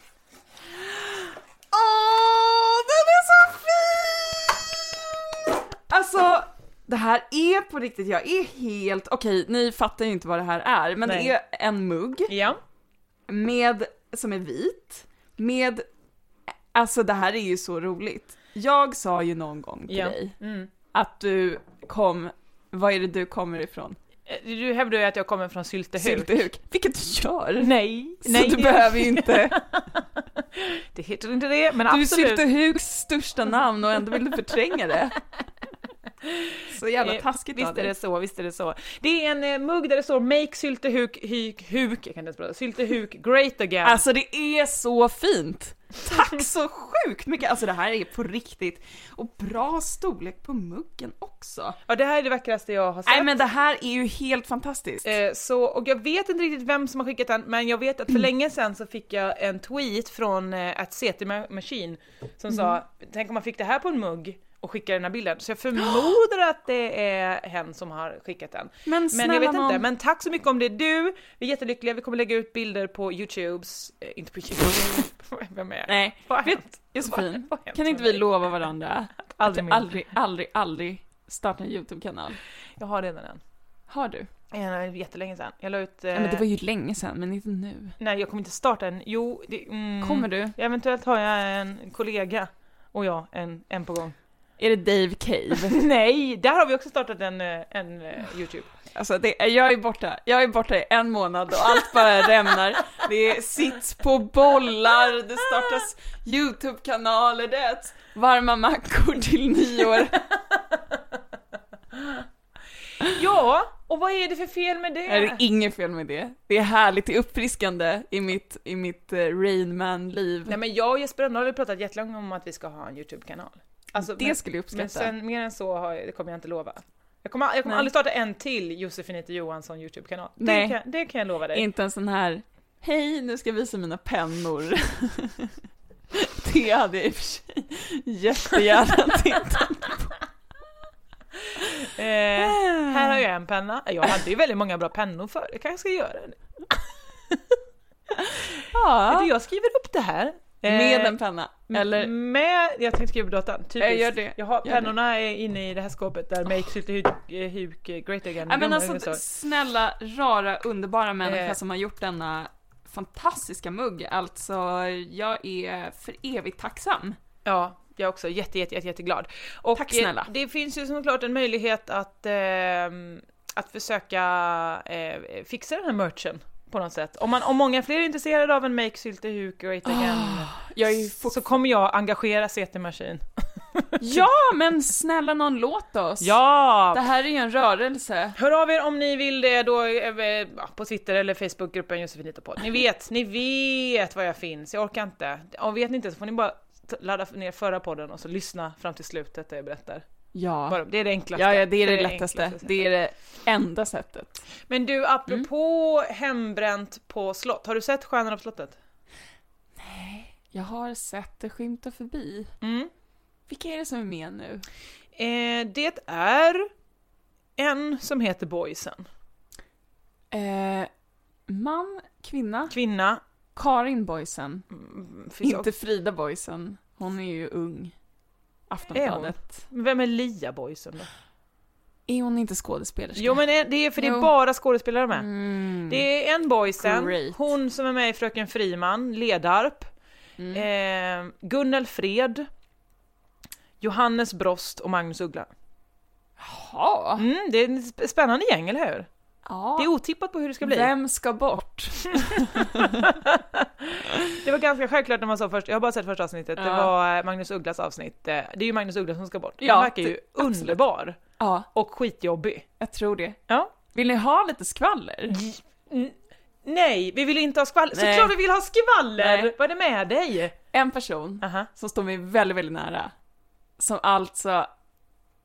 Speaker 2: Åh, den är så fin! Alltså, det här är på riktigt, jag är helt, okej, ni fattar ju inte vad det här är, men
Speaker 3: Nej.
Speaker 2: det är en mugg
Speaker 3: Ja.
Speaker 2: med, som är vit, med, alltså det här är ju så roligt. Jag sa ju någon gång till
Speaker 3: Ja.
Speaker 2: dig
Speaker 3: Mm.
Speaker 2: att du kom, var är det du kommer ifrån?
Speaker 3: Eh, Du hävdar ju att jag kommer från Syltehuk.
Speaker 2: Syltehuk. Vilket du gör!
Speaker 3: Nej,
Speaker 2: Så
Speaker 3: nej
Speaker 2: du
Speaker 3: det-
Speaker 2: behöver ju inte
Speaker 3: Det heter inte det, men
Speaker 2: Du är
Speaker 3: absolut.
Speaker 2: Syltehuks största namn och ändå vill du förtränga det. Så jävla
Speaker 3: Eh,
Speaker 2: taskigt av
Speaker 3: Visst är
Speaker 2: dig.
Speaker 3: det så, visst är det så. Det är en eh, mugg där det står Make Syltehuk huk, huk, jag kan inte ens prata, Syltehuk great again.
Speaker 2: Alltså det är så fint! Tack så sjukt mycket! Alltså det här är på riktigt. Och bra storlek på muggen också.
Speaker 3: ja, det här är det vackraste jag har sett.
Speaker 2: Nej men det här är ju helt fantastiskt.
Speaker 3: Eh, Så, och jag vet inte riktigt vem som har skickat den, men jag vet att för länge sedan så fick jag en tweet från eh, att CT Ma- Machine som sa
Speaker 2: Mm.
Speaker 3: “Tänk om man fick det här på en mugg” och skickade den här bilden. Så jag förmodar att det är hen som har skickat den.
Speaker 2: Men
Speaker 3: men
Speaker 2: snälla
Speaker 3: jag vet
Speaker 2: nån.
Speaker 3: inte, men tack så mycket om det är du. Vi är jättelyckliga, vi kommer lägga ut bilder på Youtubes, eh, inte på Youtube, vem är jag?
Speaker 2: Nej,
Speaker 3: Vad har
Speaker 2: vet
Speaker 3: hänt?
Speaker 2: Josefin,
Speaker 3: Vad har hänt
Speaker 2: kan
Speaker 3: med
Speaker 2: inte vi
Speaker 3: mig?
Speaker 2: lova varandra
Speaker 3: Aldrig
Speaker 2: att
Speaker 3: mer.
Speaker 2: aldrig, aldrig, aldrig starta en YouTube-kanal?
Speaker 3: Jag har redan en.
Speaker 2: Har du?
Speaker 3: Eh, Jättelänge sedan. Jag la ut... eh,
Speaker 2: Ja, men det var ju länge sedan, men inte nu.
Speaker 3: Nej, jag kommer inte starta en. Jo, det... Mm,
Speaker 2: Kommer du?
Speaker 3: Eventuellt har jag en kollega och jag en, en på gång.
Speaker 2: Är det Dave Cave?
Speaker 3: Nej, där har vi också startat en, eh, en eh, Youtube.
Speaker 2: Alltså det, jag är borta, jag är borta i en månad och allt bara rämnar. Det sits på bollar, det startas YouTube-kanaler, det äts varma mackor till nyår.
Speaker 3: Ja, och vad är det för fel med det?
Speaker 2: Är det inget fel med det? Det är härligt, det är uppfriskande i mitt, i mitt eh, Rain Man-liv.
Speaker 3: Nej men jag och Jesper Rönndahl har ju pratat jättelänge om att vi ska ha en Youtube-kanal. Alltså,
Speaker 2: Det
Speaker 3: men,
Speaker 2: skulle jag uppskatta.
Speaker 3: Men sen, mer än så har, jag- det kommer jag inte lova. Jag kommer, jag kommer
Speaker 2: Nej.
Speaker 3: aldrig starta en till Josefinito Johansson Youtube-kanal.
Speaker 2: Nej.
Speaker 3: Det kan, det kan jag lova dig.
Speaker 2: Inte en sån här, hej nu ska jag visa mina pennor. det hade jag i och för sig jättegärna tittat
Speaker 3: Eh, här har jag en penna. Jag hade ju väldigt många bra pennor förr, jag kanske ska göra det.
Speaker 2: ja.
Speaker 3: Du, jag skriver upp det här.
Speaker 2: Med
Speaker 3: Eh,
Speaker 2: en penna, eller?
Speaker 3: mm. Med, jag tänkte skriva på datorn, typiskt.
Speaker 2: Jag gör det,
Speaker 3: Jag har,
Speaker 2: gör
Speaker 3: pennorna är inne i det här skåpet där Make Sylte Huk- eh, Huk eh, Great Again
Speaker 2: Ja, men
Speaker 3: blommor
Speaker 2: alltså
Speaker 3: står.
Speaker 2: snälla, rara, underbara människa
Speaker 3: Eh.
Speaker 2: som har gjort denna fantastiska mugg. Alltså, jag är för evigt tacksam.
Speaker 3: Ja, jag är också jätte, jätte, jätte, jätteglad. Och
Speaker 2: Tack snälla.
Speaker 3: eh, Det finns ju såklart en möjlighet att, ehm, att försöka eh, fixa den här merchen på något sätt. Om, man, om många fler är intresserade Ah, av en Make Sylte Huk Great Again
Speaker 2: Jag är ju
Speaker 3: så kommer jag engagera CT Machine.
Speaker 2: Ja, men snälla någon låt oss. Det
Speaker 3: Ja!
Speaker 2: här är ju en rörelse.
Speaker 3: Hör av er om ni vill det då eh, eh, på Twitter eller Facebookgruppen Josefinito podd. Ni vet, ni vet var jag finns, jag orkar inte. Om vet ni inte så får ni bara t- ladda ner förra podden och så lyssna fram till slutet där jag berättar.
Speaker 2: Ja.
Speaker 3: Bara, det är det enklaste.
Speaker 2: Ja, ja, det är det lättaste.
Speaker 3: enklaste sättet.
Speaker 2: Det är det enda sättet.
Speaker 3: Men du, apropå
Speaker 2: Mm.
Speaker 3: hembränt på slott, har du sett Stjärnorna på slottet?
Speaker 2: Jag har sett det skymta förbi.
Speaker 3: Mm.
Speaker 2: Vilka är det som är med nu?
Speaker 3: Eh, det är en som heter Boysen.
Speaker 2: Eh, man, kvinna,
Speaker 3: Kvinna.
Speaker 2: Karin Boysen.
Speaker 3: Mm, finns
Speaker 2: Inte Frida Boysen. Hon är ju ung. Aftonbladet.
Speaker 3: också- Vem är Lia Boysen då?
Speaker 2: Är hon inte skådespelerska?
Speaker 3: Jo men eh, det är för det är
Speaker 2: Jo.
Speaker 3: bara skådespelare med.
Speaker 2: Mm.
Speaker 3: Det är en Boysen,
Speaker 2: Great.
Speaker 3: hon som är med i Fröken Friman, Ledarp,
Speaker 2: Mm.
Speaker 3: eh, Gunnel Fred, Johannes Brost och Magnus Uggla.
Speaker 2: Ja.
Speaker 3: Mm, det är en sp- spännande gäng, eller hur?
Speaker 2: ja.
Speaker 3: Det är otippat på hur det ska bli.
Speaker 2: Vem ska bort?
Speaker 3: Det var ganska självklart när man sa först, jag har bara sett första avsnittet, det
Speaker 2: Ja.
Speaker 3: var eh, Magnus Ugglas avsnitt. eh, Det är ju Magnus Uggla som ska bort.
Speaker 2: Ja,
Speaker 3: Han verkar ju
Speaker 2: det- absolut.
Speaker 3: underbar
Speaker 2: Ja,
Speaker 3: och skitjobbig.
Speaker 2: jag tror det.
Speaker 3: Ja.
Speaker 2: Vill ni ha lite skvaller?
Speaker 3: Nej, vi vill inte ha skvaller.
Speaker 2: Nej.
Speaker 3: Såklart vi vill ha skvaller!
Speaker 2: Nej.
Speaker 3: Vad är det med dig?
Speaker 2: En person
Speaker 3: Aha.
Speaker 2: som står mig väldigt, väldigt nära. Som alltså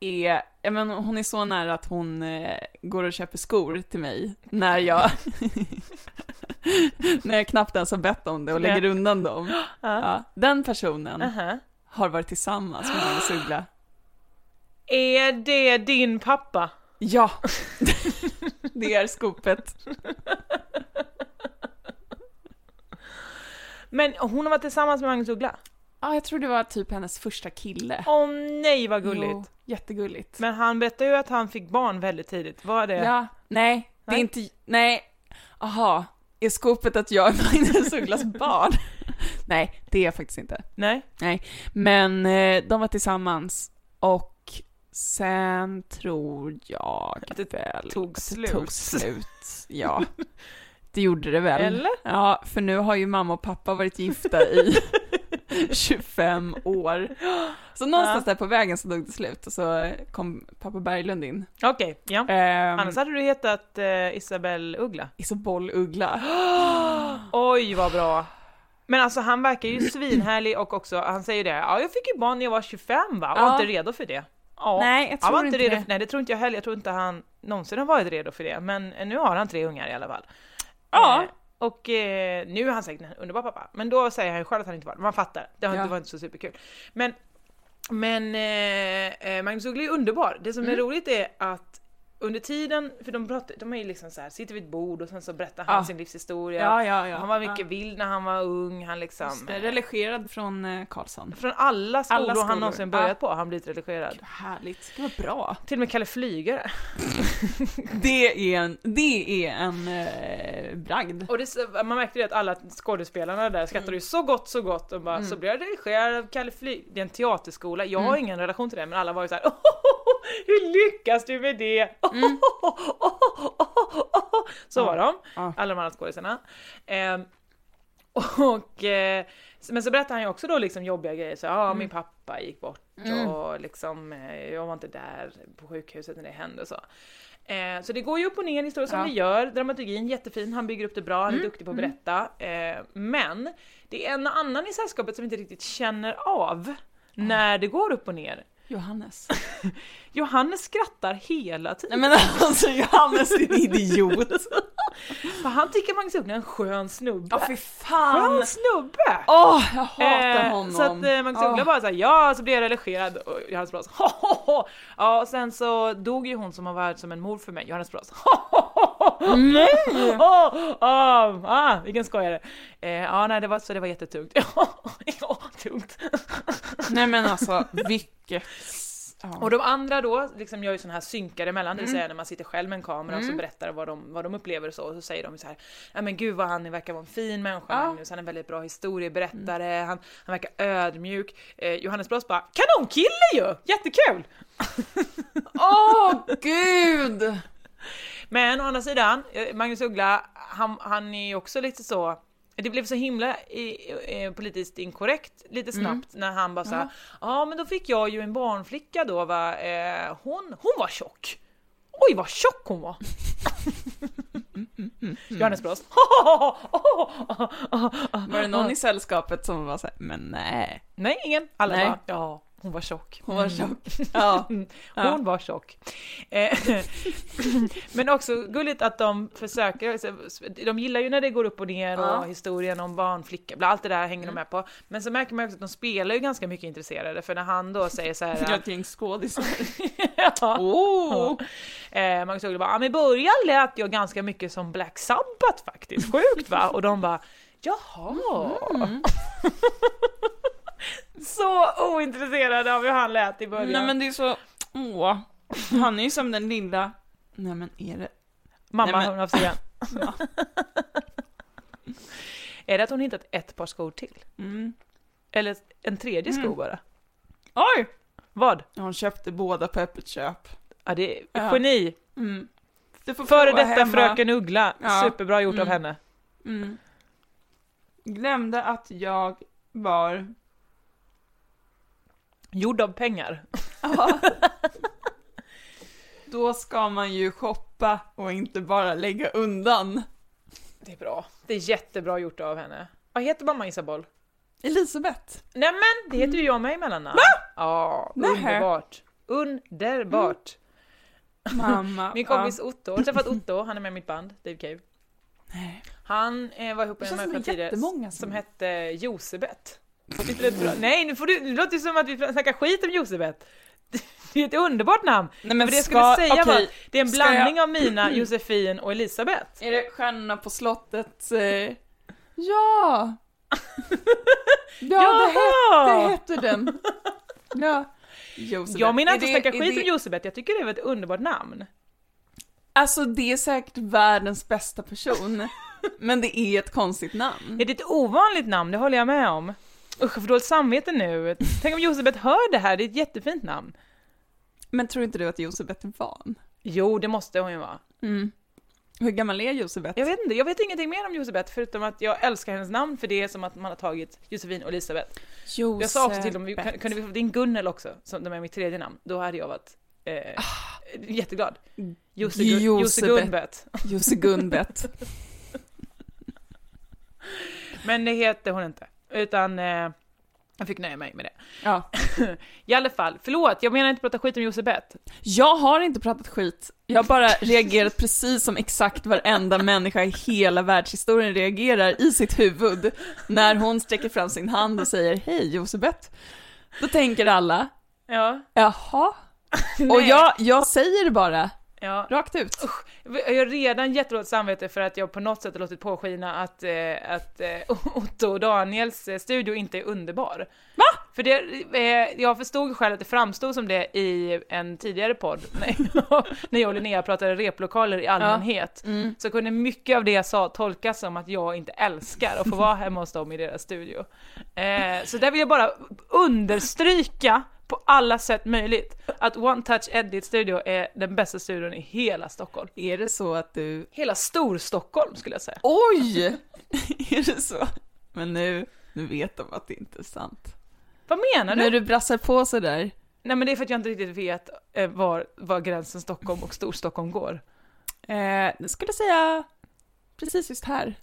Speaker 2: är, ja men hon är så nära att hon eh, går och köper skor till mig när jag, när jag knappt ens har bett om det och lägger undan dem. Ja, den personen
Speaker 3: Aha.
Speaker 2: har varit tillsammans med Magnus Uggla.
Speaker 3: Är det din pappa?
Speaker 2: Ja, det är skopet.
Speaker 3: Men hon har varit tillsammans med Magnus Uggla?
Speaker 2: Ja, jag tror det var typ hennes första kille.
Speaker 3: Åh nej vad gulligt!
Speaker 2: Jo, jättegulligt.
Speaker 3: Men han berättade ju att han fick barn väldigt tidigt, var det?
Speaker 2: Ja, eh, nej, det
Speaker 3: Nej.
Speaker 2: är inte, nej, aha, är skopet att jag är Magnus Ugglas barn? nej, det är jag faktiskt inte.
Speaker 3: Nej?
Speaker 2: Men eh, de var tillsammans och sen tror jag att
Speaker 3: det
Speaker 2: väl
Speaker 3: tog
Speaker 2: att
Speaker 3: slut.
Speaker 2: Det tog slut. Ja, det gjorde det väl.
Speaker 3: Eller?
Speaker 2: Ja, för nu har ju mamma och pappa varit gifta i 25 år. Så någonstans där på vägen så dog det slut och så kom pappa Berglund in.
Speaker 3: Okej, ja.
Speaker 2: Ehm,
Speaker 3: Annars hade du hetat eh, Isabel Uggla.
Speaker 2: Isobel Uggla.
Speaker 3: Oj vad bra! Men alltså han verkar ju svinhärlig och också, han säger det, ja jag fick ju barn när jag var 25 va, och
Speaker 2: Ja.
Speaker 3: var inte redo för det. Ja.
Speaker 2: Nej, jag
Speaker 3: han var
Speaker 2: tror
Speaker 3: inte
Speaker 2: inte
Speaker 3: redo
Speaker 2: det.
Speaker 3: För, nej det tror inte jag heller, jag tror inte han någonsin har varit redo för det. Men eh, nu har han tre ungar i alla fall.
Speaker 2: Ja.
Speaker 3: Eh, och eh, nu är han säkert en underbar pappa, men då säger han ju själv att han inte var det. Man fattar, det var,
Speaker 2: Ja.
Speaker 3: det var inte så superkul. Men, men eh, eh, Magnus Uggla är underbar. Det
Speaker 2: Mm.
Speaker 3: som är roligt är att under tiden, för de pratar, de är ju liksom så här, sitter vid ett bord och sen så berättar han
Speaker 2: Ja.
Speaker 3: sin livshistoria.
Speaker 2: Ja, ja, ja.
Speaker 3: Han var mycket vild när han var ung, han liksom...
Speaker 2: Religerad från eh, Karlsson.
Speaker 3: Från alla skolor,
Speaker 2: Alla skolor.
Speaker 3: han någonsin
Speaker 2: Ja.
Speaker 3: börjat på har han blivit religerad.
Speaker 2: Härligt, det var bra.
Speaker 3: Till och med Kalle Flygare.
Speaker 2: Det är en, det är en eh, bragd.
Speaker 3: Och det, så- man märkte det att alla skådespelarna där skrattade ju så gott, så gott. Och bara, så blev jag redigerad av Kalle Flyg. Det är en teaterskola, jag har ingen relation till det, men alla var ju såhär oh, hur lyckas du med det? Så var de,
Speaker 2: Ja.
Speaker 3: alla de andra skådisarna. Ehm, och, eh, men så berättar han ju också då liksom jobbiga grejer, så ja
Speaker 2: Mm.
Speaker 3: min pappa gick bort och liksom, eh, jag var inte där på sjukhuset när det hände och så. Eh, så det går ju upp och ner i historien som
Speaker 2: Ja. Mm.
Speaker 3: det gör, dramaturgin jättefin, han bygger upp det bra, han är duktig på att berätta. Eh, men det är en annan i sällskapet som inte riktigt känner av när det går upp och ner.
Speaker 2: Johannes.
Speaker 3: Johannes skrattar hela tiden,
Speaker 2: Nej men alltså Johannes din idiot.
Speaker 3: för han tycker Magnus Uggla är en skön snubbe.
Speaker 2: Ja fy fan.
Speaker 3: skön snubbe!
Speaker 2: Åh, jag hatar
Speaker 3: Eh,
Speaker 2: honom.
Speaker 3: Så att eh, Magnus Uggla
Speaker 2: Åh.
Speaker 3: bara såhär, ja så blev jag religerad och Johannes Brost, ho, ho, ho. Ja och sen så dog ju hon som har varit som en mor för mig, Johannes Brost. Ho, ho, ho, ho. Nej! Oh, ah, vilken skojare. Eh, ja nej det var så det var jättetungt. Ja, ja tungt.
Speaker 2: Nej men alltså vilket...
Speaker 3: Och
Speaker 2: Ja.
Speaker 3: de andra då liksom gör ju sådana här synkar emellan,
Speaker 2: Mm.
Speaker 3: det vill säga när man sitter själv med en kamera och så berättar vad de, vad de upplever och så, och så säger de ju så här, ja men gud vad han verkar vara en fin människa, Magnus, han är en väldigt bra historieberättare,
Speaker 2: Mm.
Speaker 3: han, han verkar ödmjuk. Eh, Johannes Brost bara, kanonkille ju! Jättekul!
Speaker 2: Åh gud!
Speaker 3: Men å andra sidan, eh, Magnus Uggla, han, han är ju också lite så det blev så himla i, eh, politiskt inkorrekt lite
Speaker 2: Mm.
Speaker 3: snabbt när han bara såhär, ja men då fick jag ju en barnflicka då va, eh, hon, hon var tjock. Oj vad tjock hon var!
Speaker 2: Mm.
Speaker 3: Johannes Brost.
Speaker 2: Var det någon i sällskapet som var såhär, men nej,
Speaker 3: Nej ingen, alla
Speaker 2: Nej.
Speaker 3: bara ja hon var tjock.
Speaker 2: hon var tjock. Ja.
Speaker 3: Mm. Hon
Speaker 2: Ja.
Speaker 3: var tjock. Eh, Men också gulligt att de försöker, alltså, de gillar ju när det går upp och ner och historien om barnflicka, bla, allt det där
Speaker 2: Mm.
Speaker 3: hänger de med på. Men så märker man ju också att de spelar ju ganska mycket intresserade för när han då säger så här.
Speaker 2: Jag kring skådisar.
Speaker 3: ja.
Speaker 2: Oh.
Speaker 3: Eh, Magnus Uggla bara, "Ja, men i början lät jag ganska mycket som Black Sabbath faktiskt, sjukt va? Och de bara, jaha.
Speaker 2: Mm.
Speaker 3: så ointresserade av hur han lät i början.
Speaker 2: Nej men det är så, åh. Han är ju som den lilla, nej men är det,
Speaker 3: Mamma,
Speaker 2: Nej, men-
Speaker 3: hon har haft igen. Är det att hon hittat ett par skor till?
Speaker 2: mm.
Speaker 3: Eller en tredje sko bara?
Speaker 2: Oj!
Speaker 3: Vad?
Speaker 2: Hon köpte båda på öppet köp.
Speaker 3: Ja, det är
Speaker 2: Ja.
Speaker 3: geni!
Speaker 2: Mm. Du får
Speaker 3: Före
Speaker 2: prova
Speaker 3: detta
Speaker 2: hemma.
Speaker 3: fröken Uggla,
Speaker 2: Ja.
Speaker 3: superbra gjort av
Speaker 2: Mm.
Speaker 3: henne.
Speaker 2: Mm. Glömde att jag var...
Speaker 3: Gjord av pengar.
Speaker 2: Då ska man ju shoppa och inte bara lägga undan.
Speaker 3: Det är bra. Det är jättebra gjort av henne. Vad heter mamma Isabel?
Speaker 2: Elisabeth.
Speaker 3: Nämen, det heter ju jag med emellan. Ja,
Speaker 2: Mm. Nähä.
Speaker 3: underbart. Underbart.
Speaker 2: Mamma.
Speaker 3: Min kompis Otto, jag har träffat Otto, han är med i mitt band, Dave Cave.
Speaker 2: Nej.
Speaker 3: Han eh, var ihop
Speaker 2: Det
Speaker 3: med en
Speaker 2: känns som
Speaker 3: människa
Speaker 2: det är
Speaker 3: tidigare
Speaker 2: jättemånga
Speaker 3: som...
Speaker 2: som-
Speaker 3: hette Josebet. Lite lätt bra. Nej, nu, får du, nu låter det som att vi snackar skit om Josebet. Det är ett underbart namn!
Speaker 2: Nej men
Speaker 3: För det
Speaker 2: ska,
Speaker 3: jag skulle säga
Speaker 2: okej,
Speaker 3: var att det är en
Speaker 2: ska
Speaker 3: blandning av mina, Josefin och Elisabeth.
Speaker 2: Är det Stjärnorna på slottet? Eh... Ja! ja, det, het, det
Speaker 3: Jaha!
Speaker 2: hette den. Ja. Josebeth.
Speaker 3: Jag menar
Speaker 2: Är
Speaker 3: inte att
Speaker 2: det-
Speaker 3: snacka
Speaker 2: är
Speaker 3: skit om
Speaker 2: det-
Speaker 3: Josebet, jag tycker det är ett underbart namn.
Speaker 2: Alltså det är säkert världens bästa person. men det är ett konstigt namn.
Speaker 3: Det är ett ovanligt namn, det håller jag med om. Usch, jag får dåligt samvete nu. Tänk om Josebet hör det här, det är ett jättefint namn.
Speaker 2: Men tror inte du att Josebeth är van?
Speaker 3: Jo, det måste hon ju vara.
Speaker 2: Mm. Hur gammal är Josebeth?
Speaker 3: Jag vet inte, jag vet ingenting mer om Josebeth förutom att jag älskar hennes namn för det är som att man har tagit Josefin och Elisabeth.
Speaker 2: Josebeth.
Speaker 3: Jag sa också till dem, vi- kan- kunde vi få in Gunnel också, som de är mitt tredje namn, då hade jag varit eh, jätteglad. Jose, Gun- Jose
Speaker 2: Josebeth.
Speaker 3: Gunnbeth.
Speaker 2: Jose Gunbeth.
Speaker 3: Men det heter hon inte, utan eh, jag fick nöja mig med det.
Speaker 2: Ja.
Speaker 3: I alla fall, förlåt, jag menar inte prata skit om Josebeth.
Speaker 2: Jag har inte pratat skit. Jag har bara reagerat precis som exakt varenda människa i hela världshistorien reagerar i sitt huvud när hon sträcker fram sin hand och säger hej Josebeth. Då tänker alla,
Speaker 3: Ja,
Speaker 2: jaha? Och jag, jag säger det bara,
Speaker 3: ja.
Speaker 2: rakt ut.
Speaker 3: Jag har redan jättedåligt samvete för att jag på något sätt har låtit påskina att, eh, att eh, Otto och Daniels eh, studio inte är underbar. Va? För det, eh, jag förstod själv att det framstod som det i en tidigare podd, när jag, när jag och Linnea pratade replokaler i allmänhet, så kunde mycket av det jag sa tolkas som att jag inte älskar att få vara hemma hos dem i deras studio. Eh, så där vill jag bara understryka på alla sätt möjligt att One Touch Edit Studio är den bästa studion i hela Stockholm.
Speaker 2: Är det så att du...
Speaker 3: Hela Storstockholm skulle jag säga.
Speaker 2: Oj! är det så? Men nu, nu vet de att det inte är sant.
Speaker 3: Vad menar du?
Speaker 2: När du brassar på sådär,
Speaker 3: Nej men det är för att jag inte riktigt vet eh, var, var gränsen Stockholm och Storstockholm går.
Speaker 2: eh, jag skulle säga precis just här.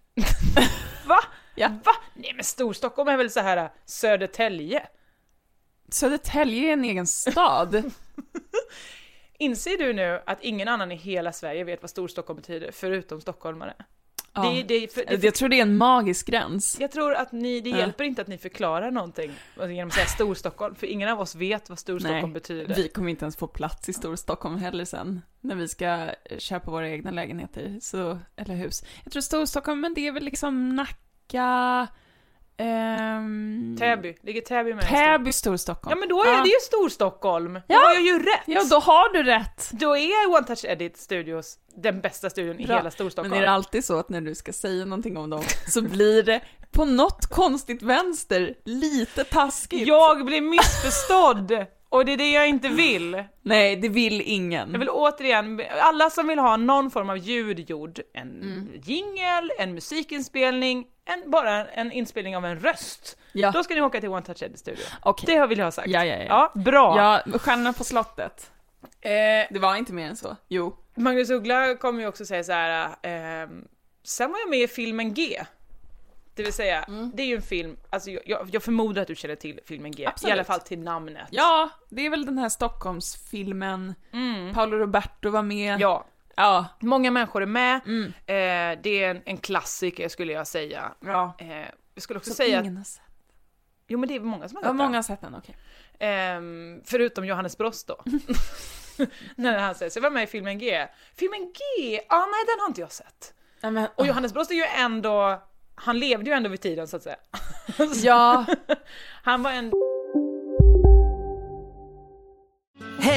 Speaker 3: Va?
Speaker 2: Ja.
Speaker 3: Va? Nej men Storstockholm är väl så här eh, Södertälje?
Speaker 2: Södertälje är en egen stad.
Speaker 3: Inser du nu att ingen annan i hela Sverige vet vad Storstockholm betyder förutom stockholmare? Det, det, för, det,
Speaker 2: Jag tror Eh, det är en magisk gräns.
Speaker 3: jag tror att ni, det
Speaker 2: Ja.
Speaker 3: hjälper inte att ni förklarar någonting genom att säga Storstockholm, för ingen av oss vet vad Storstockholm betyder.
Speaker 2: Vi kommer inte ens få plats i Storstockholm heller sen, när vi ska eh, köpa våra egna lägenheter, så, eller hus. Jag tror Storstockholm, men det är väl liksom Nacka... ehm,
Speaker 3: Täby, ligger Täby med? i Stor-
Speaker 2: Täby, Storstockholm.
Speaker 3: Ja men då är det ju Storstockholm! Då
Speaker 2: Ja.
Speaker 3: har jag ju rätt!
Speaker 2: Ja, då har du rätt!
Speaker 3: Då är One Touch Edit Studios den bästa studion i
Speaker 2: Bra.
Speaker 3: hela Storstockholm.
Speaker 2: Men är det alltid så att när du ska säga någonting om dem så blir det på något konstigt vänster lite taskigt?
Speaker 3: jag blir missförstådd! Och det är det jag inte vill.
Speaker 2: Nej, det vill ingen.
Speaker 3: Jag vill återigen,
Speaker 2: Mm.
Speaker 3: alla som vill ha någon form av ljud gjord, en jingel, en musikinspelning, en, bara en inspelning av en röst.
Speaker 2: Ja.
Speaker 3: Då ska ni åka till One Touch Ed Studio.
Speaker 2: Okej.
Speaker 3: Det har vill jag ha sagt.
Speaker 2: Ja, ja, ja.
Speaker 3: bra.
Speaker 2: Ja, Stjärnorna på slottet.
Speaker 3: Eh,
Speaker 2: Det var inte mer än så. Jo.
Speaker 3: Magnus Uggla kommer ju också säga så här. ehm, sen var jag med i filmen G. Det vill säga,
Speaker 2: Mm.
Speaker 3: det är ju en film, alltså jag- jag, jag förmodar att du känner till filmen G, i
Speaker 2: Absolut.
Speaker 3: alla fall till namnet.
Speaker 2: Ja, det är väl den här Stockholmsfilmen. Paolo Roberto var med.
Speaker 3: Mm. Ja,
Speaker 2: Ja.
Speaker 3: många människor är med,
Speaker 2: Mm.
Speaker 3: eh, det är en, en klassiker skulle jag säga.
Speaker 2: ja.
Speaker 3: Eh, jag skulle också
Speaker 2: Som
Speaker 3: säga att,
Speaker 2: ingen har sett.
Speaker 3: jo men det är många som har
Speaker 2: Ja,
Speaker 3: sett
Speaker 2: många
Speaker 3: den.
Speaker 2: har sett den, okej.
Speaker 3: Ehm, förutom Johannes Brost då. När han säger, så jag var med i filmen G. Filmen G? Ja, ah, nej den har inte jag sett.
Speaker 2: Ja, men,
Speaker 3: Och Johannes Brost är ju ändå, han levde ju ändå vid tiden så att säga.
Speaker 2: ja.
Speaker 3: Han var en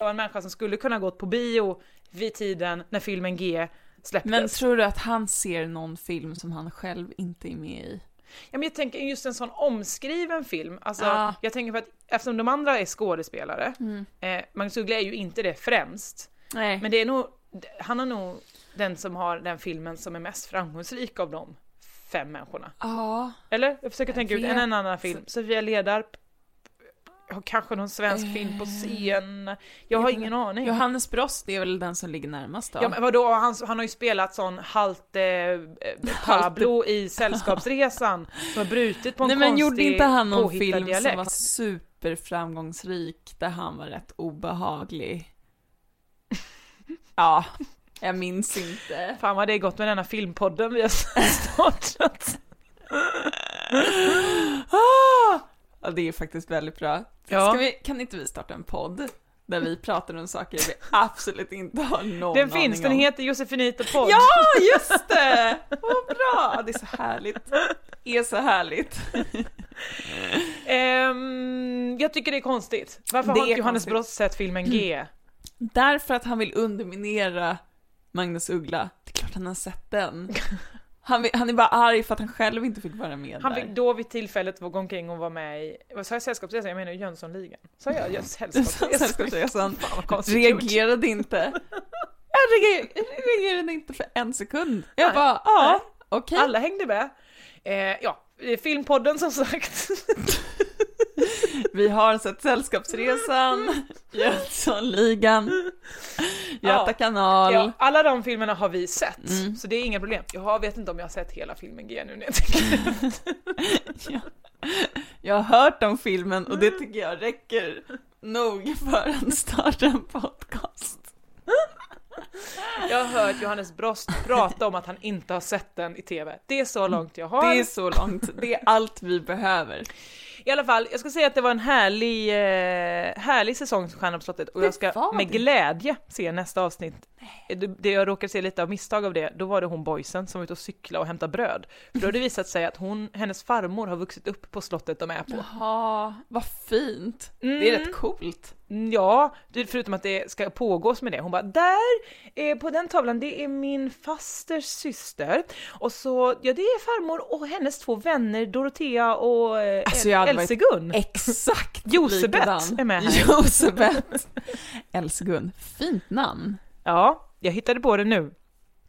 Speaker 3: var en människa som skulle kunna gått på bio vid tiden när filmen G släpptes.
Speaker 2: men tror du att han ser någon film som han själv inte är med i?
Speaker 3: ja, men jag tänker just en sån omskriven film, alltså,
Speaker 2: Ja. Mm.
Speaker 3: jag tänker för att eftersom de andra är skådespelare, eh, Magnus Uggla är ju inte det främst,
Speaker 2: Nej.
Speaker 3: men det är nog, han är nog den som har den filmen som är mest framgångsrik av de fem människorna.
Speaker 2: ja.
Speaker 3: Eller? Jag försöker tänka ut en,
Speaker 2: vet.
Speaker 3: en annan film. Sofia Ledarp har kanske någon svensk film
Speaker 2: Eh.
Speaker 3: på scen. Jag har ingen aning.
Speaker 2: Johannes Brost är väl den som ligger närmast då?
Speaker 3: Ja, men vadå, han, han har ju spelat sån halt eh, eh, Pablo i Sällskapsresan som har brutit på en
Speaker 2: Nej men
Speaker 3: konstig
Speaker 2: gjorde inte han någon
Speaker 3: påhittad
Speaker 2: film
Speaker 3: dialekt.
Speaker 2: som var superframgångsrik där han var rätt obehaglig? ja, jag minns inte.
Speaker 3: Fan vad det är gott med denna filmpodden vi har startat.
Speaker 2: Ja, det är faktiskt väldigt bra.
Speaker 3: Ja.
Speaker 2: Ska vi, kan inte vi starta en podd där vi pratar om saker vi absolut inte har någon
Speaker 3: Den finns,
Speaker 2: aning
Speaker 3: den
Speaker 2: om?
Speaker 3: heter Josefinito podd.
Speaker 2: Ja, just det! Vad bra! Det är så härligt. Det är så härligt.
Speaker 3: Ehm, jag tycker det är konstigt. Varför
Speaker 2: Det
Speaker 3: har inte
Speaker 2: är
Speaker 3: Johannes
Speaker 2: konstigt. Mm.
Speaker 3: Brost sett filmen G?
Speaker 2: Därför att han vill underminera Magnus Uggla. Det är klart han har sett den. Han, vill, han är bara arg för att han själv inte fick vara med
Speaker 3: Han
Speaker 2: där.
Speaker 3: fick då vid tillfället gå omkring och vara med i, vad sa jag Sällskapsresan? Jag menar ju Jönssonligan. Sa jag Jöns- Sällskapsresan?
Speaker 2: Sällskapsresan
Speaker 3: vad konstigt
Speaker 2: reagerade inte. Jag reagerade, reagerade inte för en sekund. Jag
Speaker 3: Nej.
Speaker 2: bara, ja, okej.
Speaker 3: Alla hängde med. Eh, ja, eh, filmpodden som sagt.
Speaker 2: Vi har sett Sällskapsresan, Jönssonligan, Göta
Speaker 3: Ja.
Speaker 2: kanal.
Speaker 3: Ja, alla de filmerna har vi sett,
Speaker 2: Mm.
Speaker 3: så det är inga problem. Jag vet inte om jag har sett hela filmen G nu när jag tänker
Speaker 2: Jag har hört om filmen och det tycker jag räcker nog för att starta en podcast.
Speaker 3: Jag har hört Johannes Brost prata om att han inte har sett den i TV. Det är så långt jag har.
Speaker 2: Det är så långt, det är allt vi behöver.
Speaker 3: I alla fall, jag ska säga att det var en härlig, eh, härlig säsong som Stjärnorna på slottet och jag ska
Speaker 2: var
Speaker 3: med
Speaker 2: det.
Speaker 3: glädje se nästa avsnitt. Det, det jag råkade se lite av misstag av det, då var det hon boysen som var ute och cykla och hämta bröd. För då har det visat sig att hon, hennes farmor har vuxit upp på slottet de är på.
Speaker 2: Ja, vad fint. Det är rätt coolt.
Speaker 3: Mm, Ja, det- förutom att det ska pågås med det. Hon bara, där eh, på den tavlan, det är min fasters syster. Och så, ja det är farmor och hennes två vänner, Dorotea och eh,
Speaker 2: Alltså, jag hade varit
Speaker 3: Elsegun.
Speaker 2: Exakt
Speaker 3: Josebet
Speaker 2: likadan.
Speaker 3: är med här.
Speaker 2: Josebet. Elsegun, fint namn.
Speaker 3: Ja, jag hittade på det nu.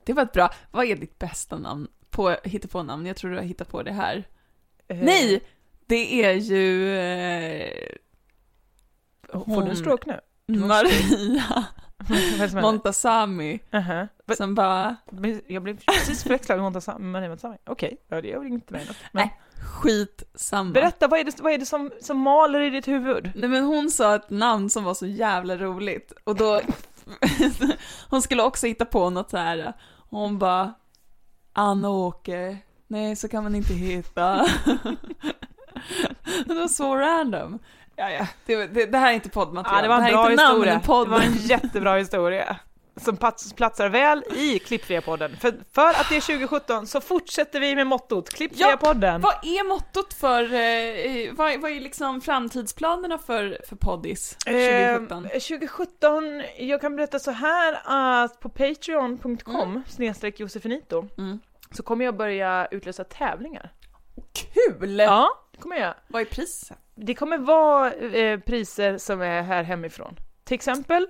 Speaker 2: Det var ett bra, vad är ditt bästa namn? På, hitta på namn, jag tror du har hittat på det här.
Speaker 3: Eh,
Speaker 2: Nej! Det är ju... Eh,
Speaker 3: Får du
Speaker 2: Mm.
Speaker 3: en stroke nu?
Speaker 2: Maria
Speaker 3: Vad är det som händer?
Speaker 2: Montazami
Speaker 3: Aha. Va-
Speaker 2: som bara,
Speaker 3: men Jag blev precis förväxlad med Montasami. Okej, ja, det gör inget med något. Men,
Speaker 2: nej Skitsamma.
Speaker 3: Berätta, vad är det, vad är det som, som maler i ditt huvud?
Speaker 2: Nej men hon sa ett namn som var så jävla roligt och då, hon skulle också hitta på något så här. hon bara, Anna-Åke, nej så kan man inte heta. det var så random. Ja, ja. Det, det, det här är inte poddmaterial,
Speaker 3: Ja, det var en
Speaker 2: här
Speaker 3: bra
Speaker 2: är inte
Speaker 3: historia.
Speaker 2: namn i podden.
Speaker 3: Det var en jättebra historia. Som plats, platsar väl i Klippfria-podden. För, för att det är 2017 så fortsätter vi med mottot Klippfria-podden.
Speaker 2: Vad är mottot för, eh, vad, är- vad är liksom framtidsplanerna för, för poddis 2017?
Speaker 3: Eh, 2017, jag kan berätta så här att på patreon.com snedstreck Josefinito
Speaker 2: Mm.
Speaker 3: så kommer jag börja utlösa tävlingar.
Speaker 2: Kul!
Speaker 3: Ja, det kommer jag göra.
Speaker 2: Vad är priset?
Speaker 3: Det kommer vara eh, priser som är här hemifrån. Till exempel,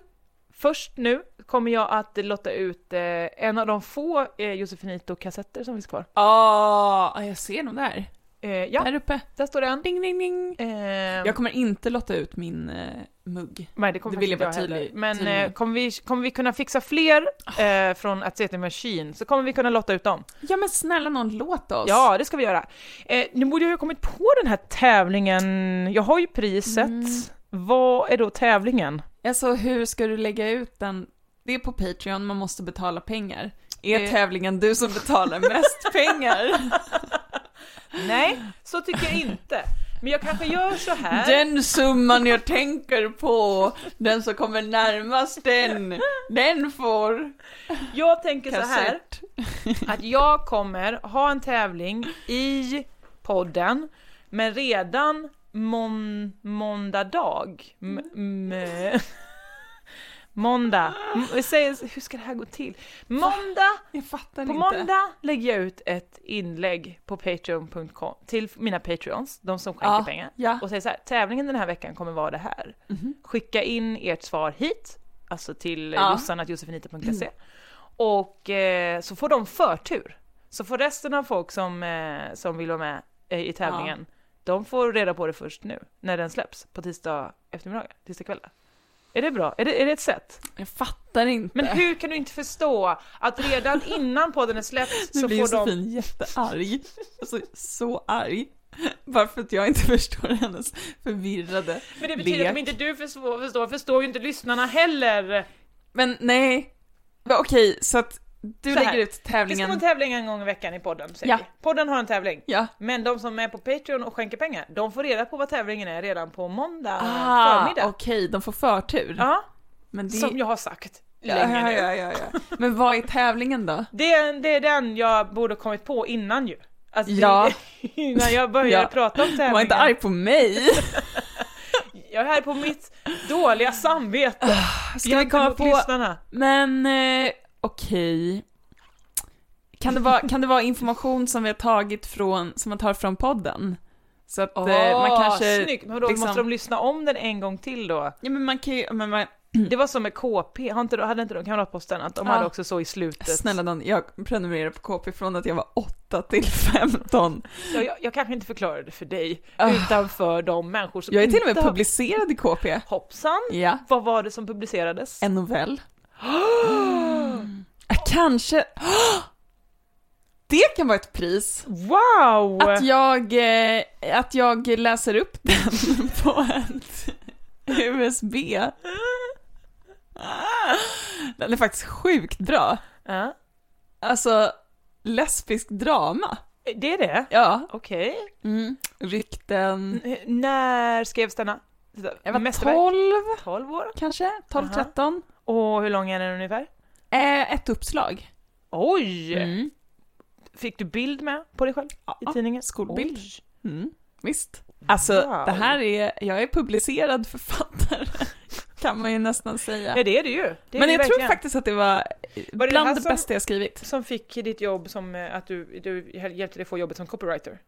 Speaker 3: först nu kommer jag att lotta ut eh, en av de få eh, Josefinito-kassetter som finns kvar.
Speaker 2: Ja, jag ser dem där.
Speaker 3: Eh, ja,
Speaker 2: Där uppe.
Speaker 3: där står den.
Speaker 2: Ding, ding, ding.
Speaker 3: Eh,
Speaker 2: Jag kommer inte lotta ut min eh, mugg.
Speaker 3: nej, det kommer
Speaker 2: det
Speaker 3: faktiskt
Speaker 2: vill jag
Speaker 3: inte
Speaker 2: vara tydlig-
Speaker 3: heller. Men
Speaker 2: tydlig med.
Speaker 3: eh, kommer, vi, kommer vi kunna fixa fler eh, från att se Machine så kommer vi kunna lotta ut dem.
Speaker 2: Ja men snälla någon, låt oss.
Speaker 3: Ja, det ska vi göra. Eh, nu borde jag ju ha kommit på den här tävlingen. Jag har ju priset.
Speaker 2: Mm.
Speaker 3: Vad är då tävlingen?
Speaker 2: Alltså hur ska du lägga ut den? Det är på Patreon, man måste betala pengar. Eh. Är tävlingen du som betalar mest pengar?
Speaker 3: Nej, så tycker jag inte. Men jag kanske gör så här.
Speaker 2: Den summan jag tänker på, den som kommer närmast den, den får
Speaker 3: Jag tänker så här.
Speaker 2: kassett.
Speaker 3: att jag kommer ha en tävling i podden, men redan mån, måndag dag. M- m- måndag. M- vi säger- hur ska det här gå till? Måndag,
Speaker 2: Jag fattar inte.
Speaker 3: på måndag lägger jag ut ett inlägg på patreon.com till mina patreons, de som skänker
Speaker 2: Ja,
Speaker 3: pengar,
Speaker 2: ja. Mhm.
Speaker 3: och säger så här, tävlingen den här veckan kommer vara det här. Skicka in ert svar hit, alltså till
Speaker 2: Ja.
Speaker 3: ja. Och eh, så får de förtur. Så får resten av folk som, eh, som vill vara med eh, i tävlingen, de får reda på det först nu, när den släpps på tisdag eftermiddag, tisdag kväll. Är det bra? Är det, är det ett sätt?
Speaker 2: Jag fattar inte.
Speaker 3: Men hur kan du inte förstå att redan innan podden är släppt
Speaker 2: Nu
Speaker 3: så
Speaker 2: blir
Speaker 3: får de...
Speaker 2: Josefin jättearg. Alltså så arg. Bara för att jag inte förstår hennes förvirrade
Speaker 3: Men det betyder att om
Speaker 2: lek.
Speaker 3: inte du förstår, förstår, förstår ju inte lyssnarna heller.
Speaker 2: Men nej. Va, Okej, så att du
Speaker 3: Så här.
Speaker 2: lägger ut
Speaker 3: Det ska
Speaker 2: tävlingen.
Speaker 3: vara en tävling en gång i veckan i podden, säger
Speaker 2: Ja.
Speaker 3: vi. Podden har en tävling.
Speaker 2: ja.
Speaker 3: Men de som är på Patreon och skänker pengar, de får reda på vad tävlingen är redan på måndag
Speaker 2: Ah,
Speaker 3: förmiddag.
Speaker 2: Okej, de får förtur.
Speaker 3: Ja,
Speaker 2: Men, det...
Speaker 3: som jag har sagt
Speaker 2: ja,
Speaker 3: länge
Speaker 2: ja,
Speaker 3: nu.
Speaker 2: ja, ja, ja. Men vad är tävlingen då?
Speaker 3: Det, är- det är den jag borde ha kommit på innan ju. Alltså,
Speaker 2: Ja.
Speaker 3: det, innan jag började
Speaker 2: Ja.
Speaker 3: prata om tävlingen.
Speaker 2: Var inte arg på mig.
Speaker 3: Jag är här på mitt dåliga samvete.
Speaker 2: Ah, Ska vi komma
Speaker 3: Gentemot
Speaker 2: på...
Speaker 3: lyssnarna.
Speaker 2: Men eh, okej. Kan, det vara- kan det vara information som vi har tagit från, som man tar från podden? Så att eh, man
Speaker 3: Åh,
Speaker 2: kanske...
Speaker 3: Snyggt! Men då
Speaker 2: liksom-
Speaker 3: måste de lyssna om den en gång till då?
Speaker 2: Ja men man kan ju, men man,
Speaker 3: Det var som med KP, Har inte, hade inte de Kamratposten att de
Speaker 2: Ja.
Speaker 3: hade också så i slutet?
Speaker 2: snälla nån, jag prenumererar på KP från att jag var 8 till 15.
Speaker 3: Jag, jag, jag kanske inte förklarade det för dig,
Speaker 2: Ah.
Speaker 3: utan för de människor som
Speaker 2: Jag är till och med
Speaker 3: inte har-
Speaker 2: publicerad i KP.
Speaker 3: Hoppsan!
Speaker 2: Ja.
Speaker 3: Vad var det som publicerades?
Speaker 2: En novell. Mm. Kanske... Det kan vara ett pris.
Speaker 3: Wow!
Speaker 2: Att jag, eh, att jag läser upp den på ett USB. Den är faktiskt sjukt bra.
Speaker 3: Ja,
Speaker 2: Alltså, lesbisk drama.
Speaker 3: det är det?
Speaker 2: Ja.
Speaker 3: Okej.
Speaker 2: Mm. Rykten.
Speaker 3: Eh, När skrevs denna?
Speaker 2: Jag var
Speaker 3: Mästerverk?
Speaker 2: 12
Speaker 3: 12 år.
Speaker 2: kanske, 12,
Speaker 3: Aha.
Speaker 2: 13.
Speaker 3: Och hur lång är den ungefär?
Speaker 2: Eh, ett uppslag.
Speaker 3: Oj!
Speaker 2: Mm.
Speaker 3: Fick du bild med på dig själv
Speaker 2: Ja,
Speaker 3: i tidningen?
Speaker 2: skolbild.
Speaker 3: Oj.
Speaker 2: Mm, visst. Alltså,
Speaker 3: Wow.
Speaker 2: det här är, jag är publicerad författare, kan man ju nästan säga.
Speaker 3: Ja, det är det ju. Det
Speaker 2: Men
Speaker 3: är det
Speaker 2: jag tror
Speaker 3: verkligen.
Speaker 2: faktiskt att det var,
Speaker 3: Var det
Speaker 2: bland
Speaker 3: det här
Speaker 2: det,
Speaker 3: som-
Speaker 2: bästa jag skrivit.
Speaker 3: Som fick ditt jobb som eh, att du, du hjälpte dig få jobbet som copywriter.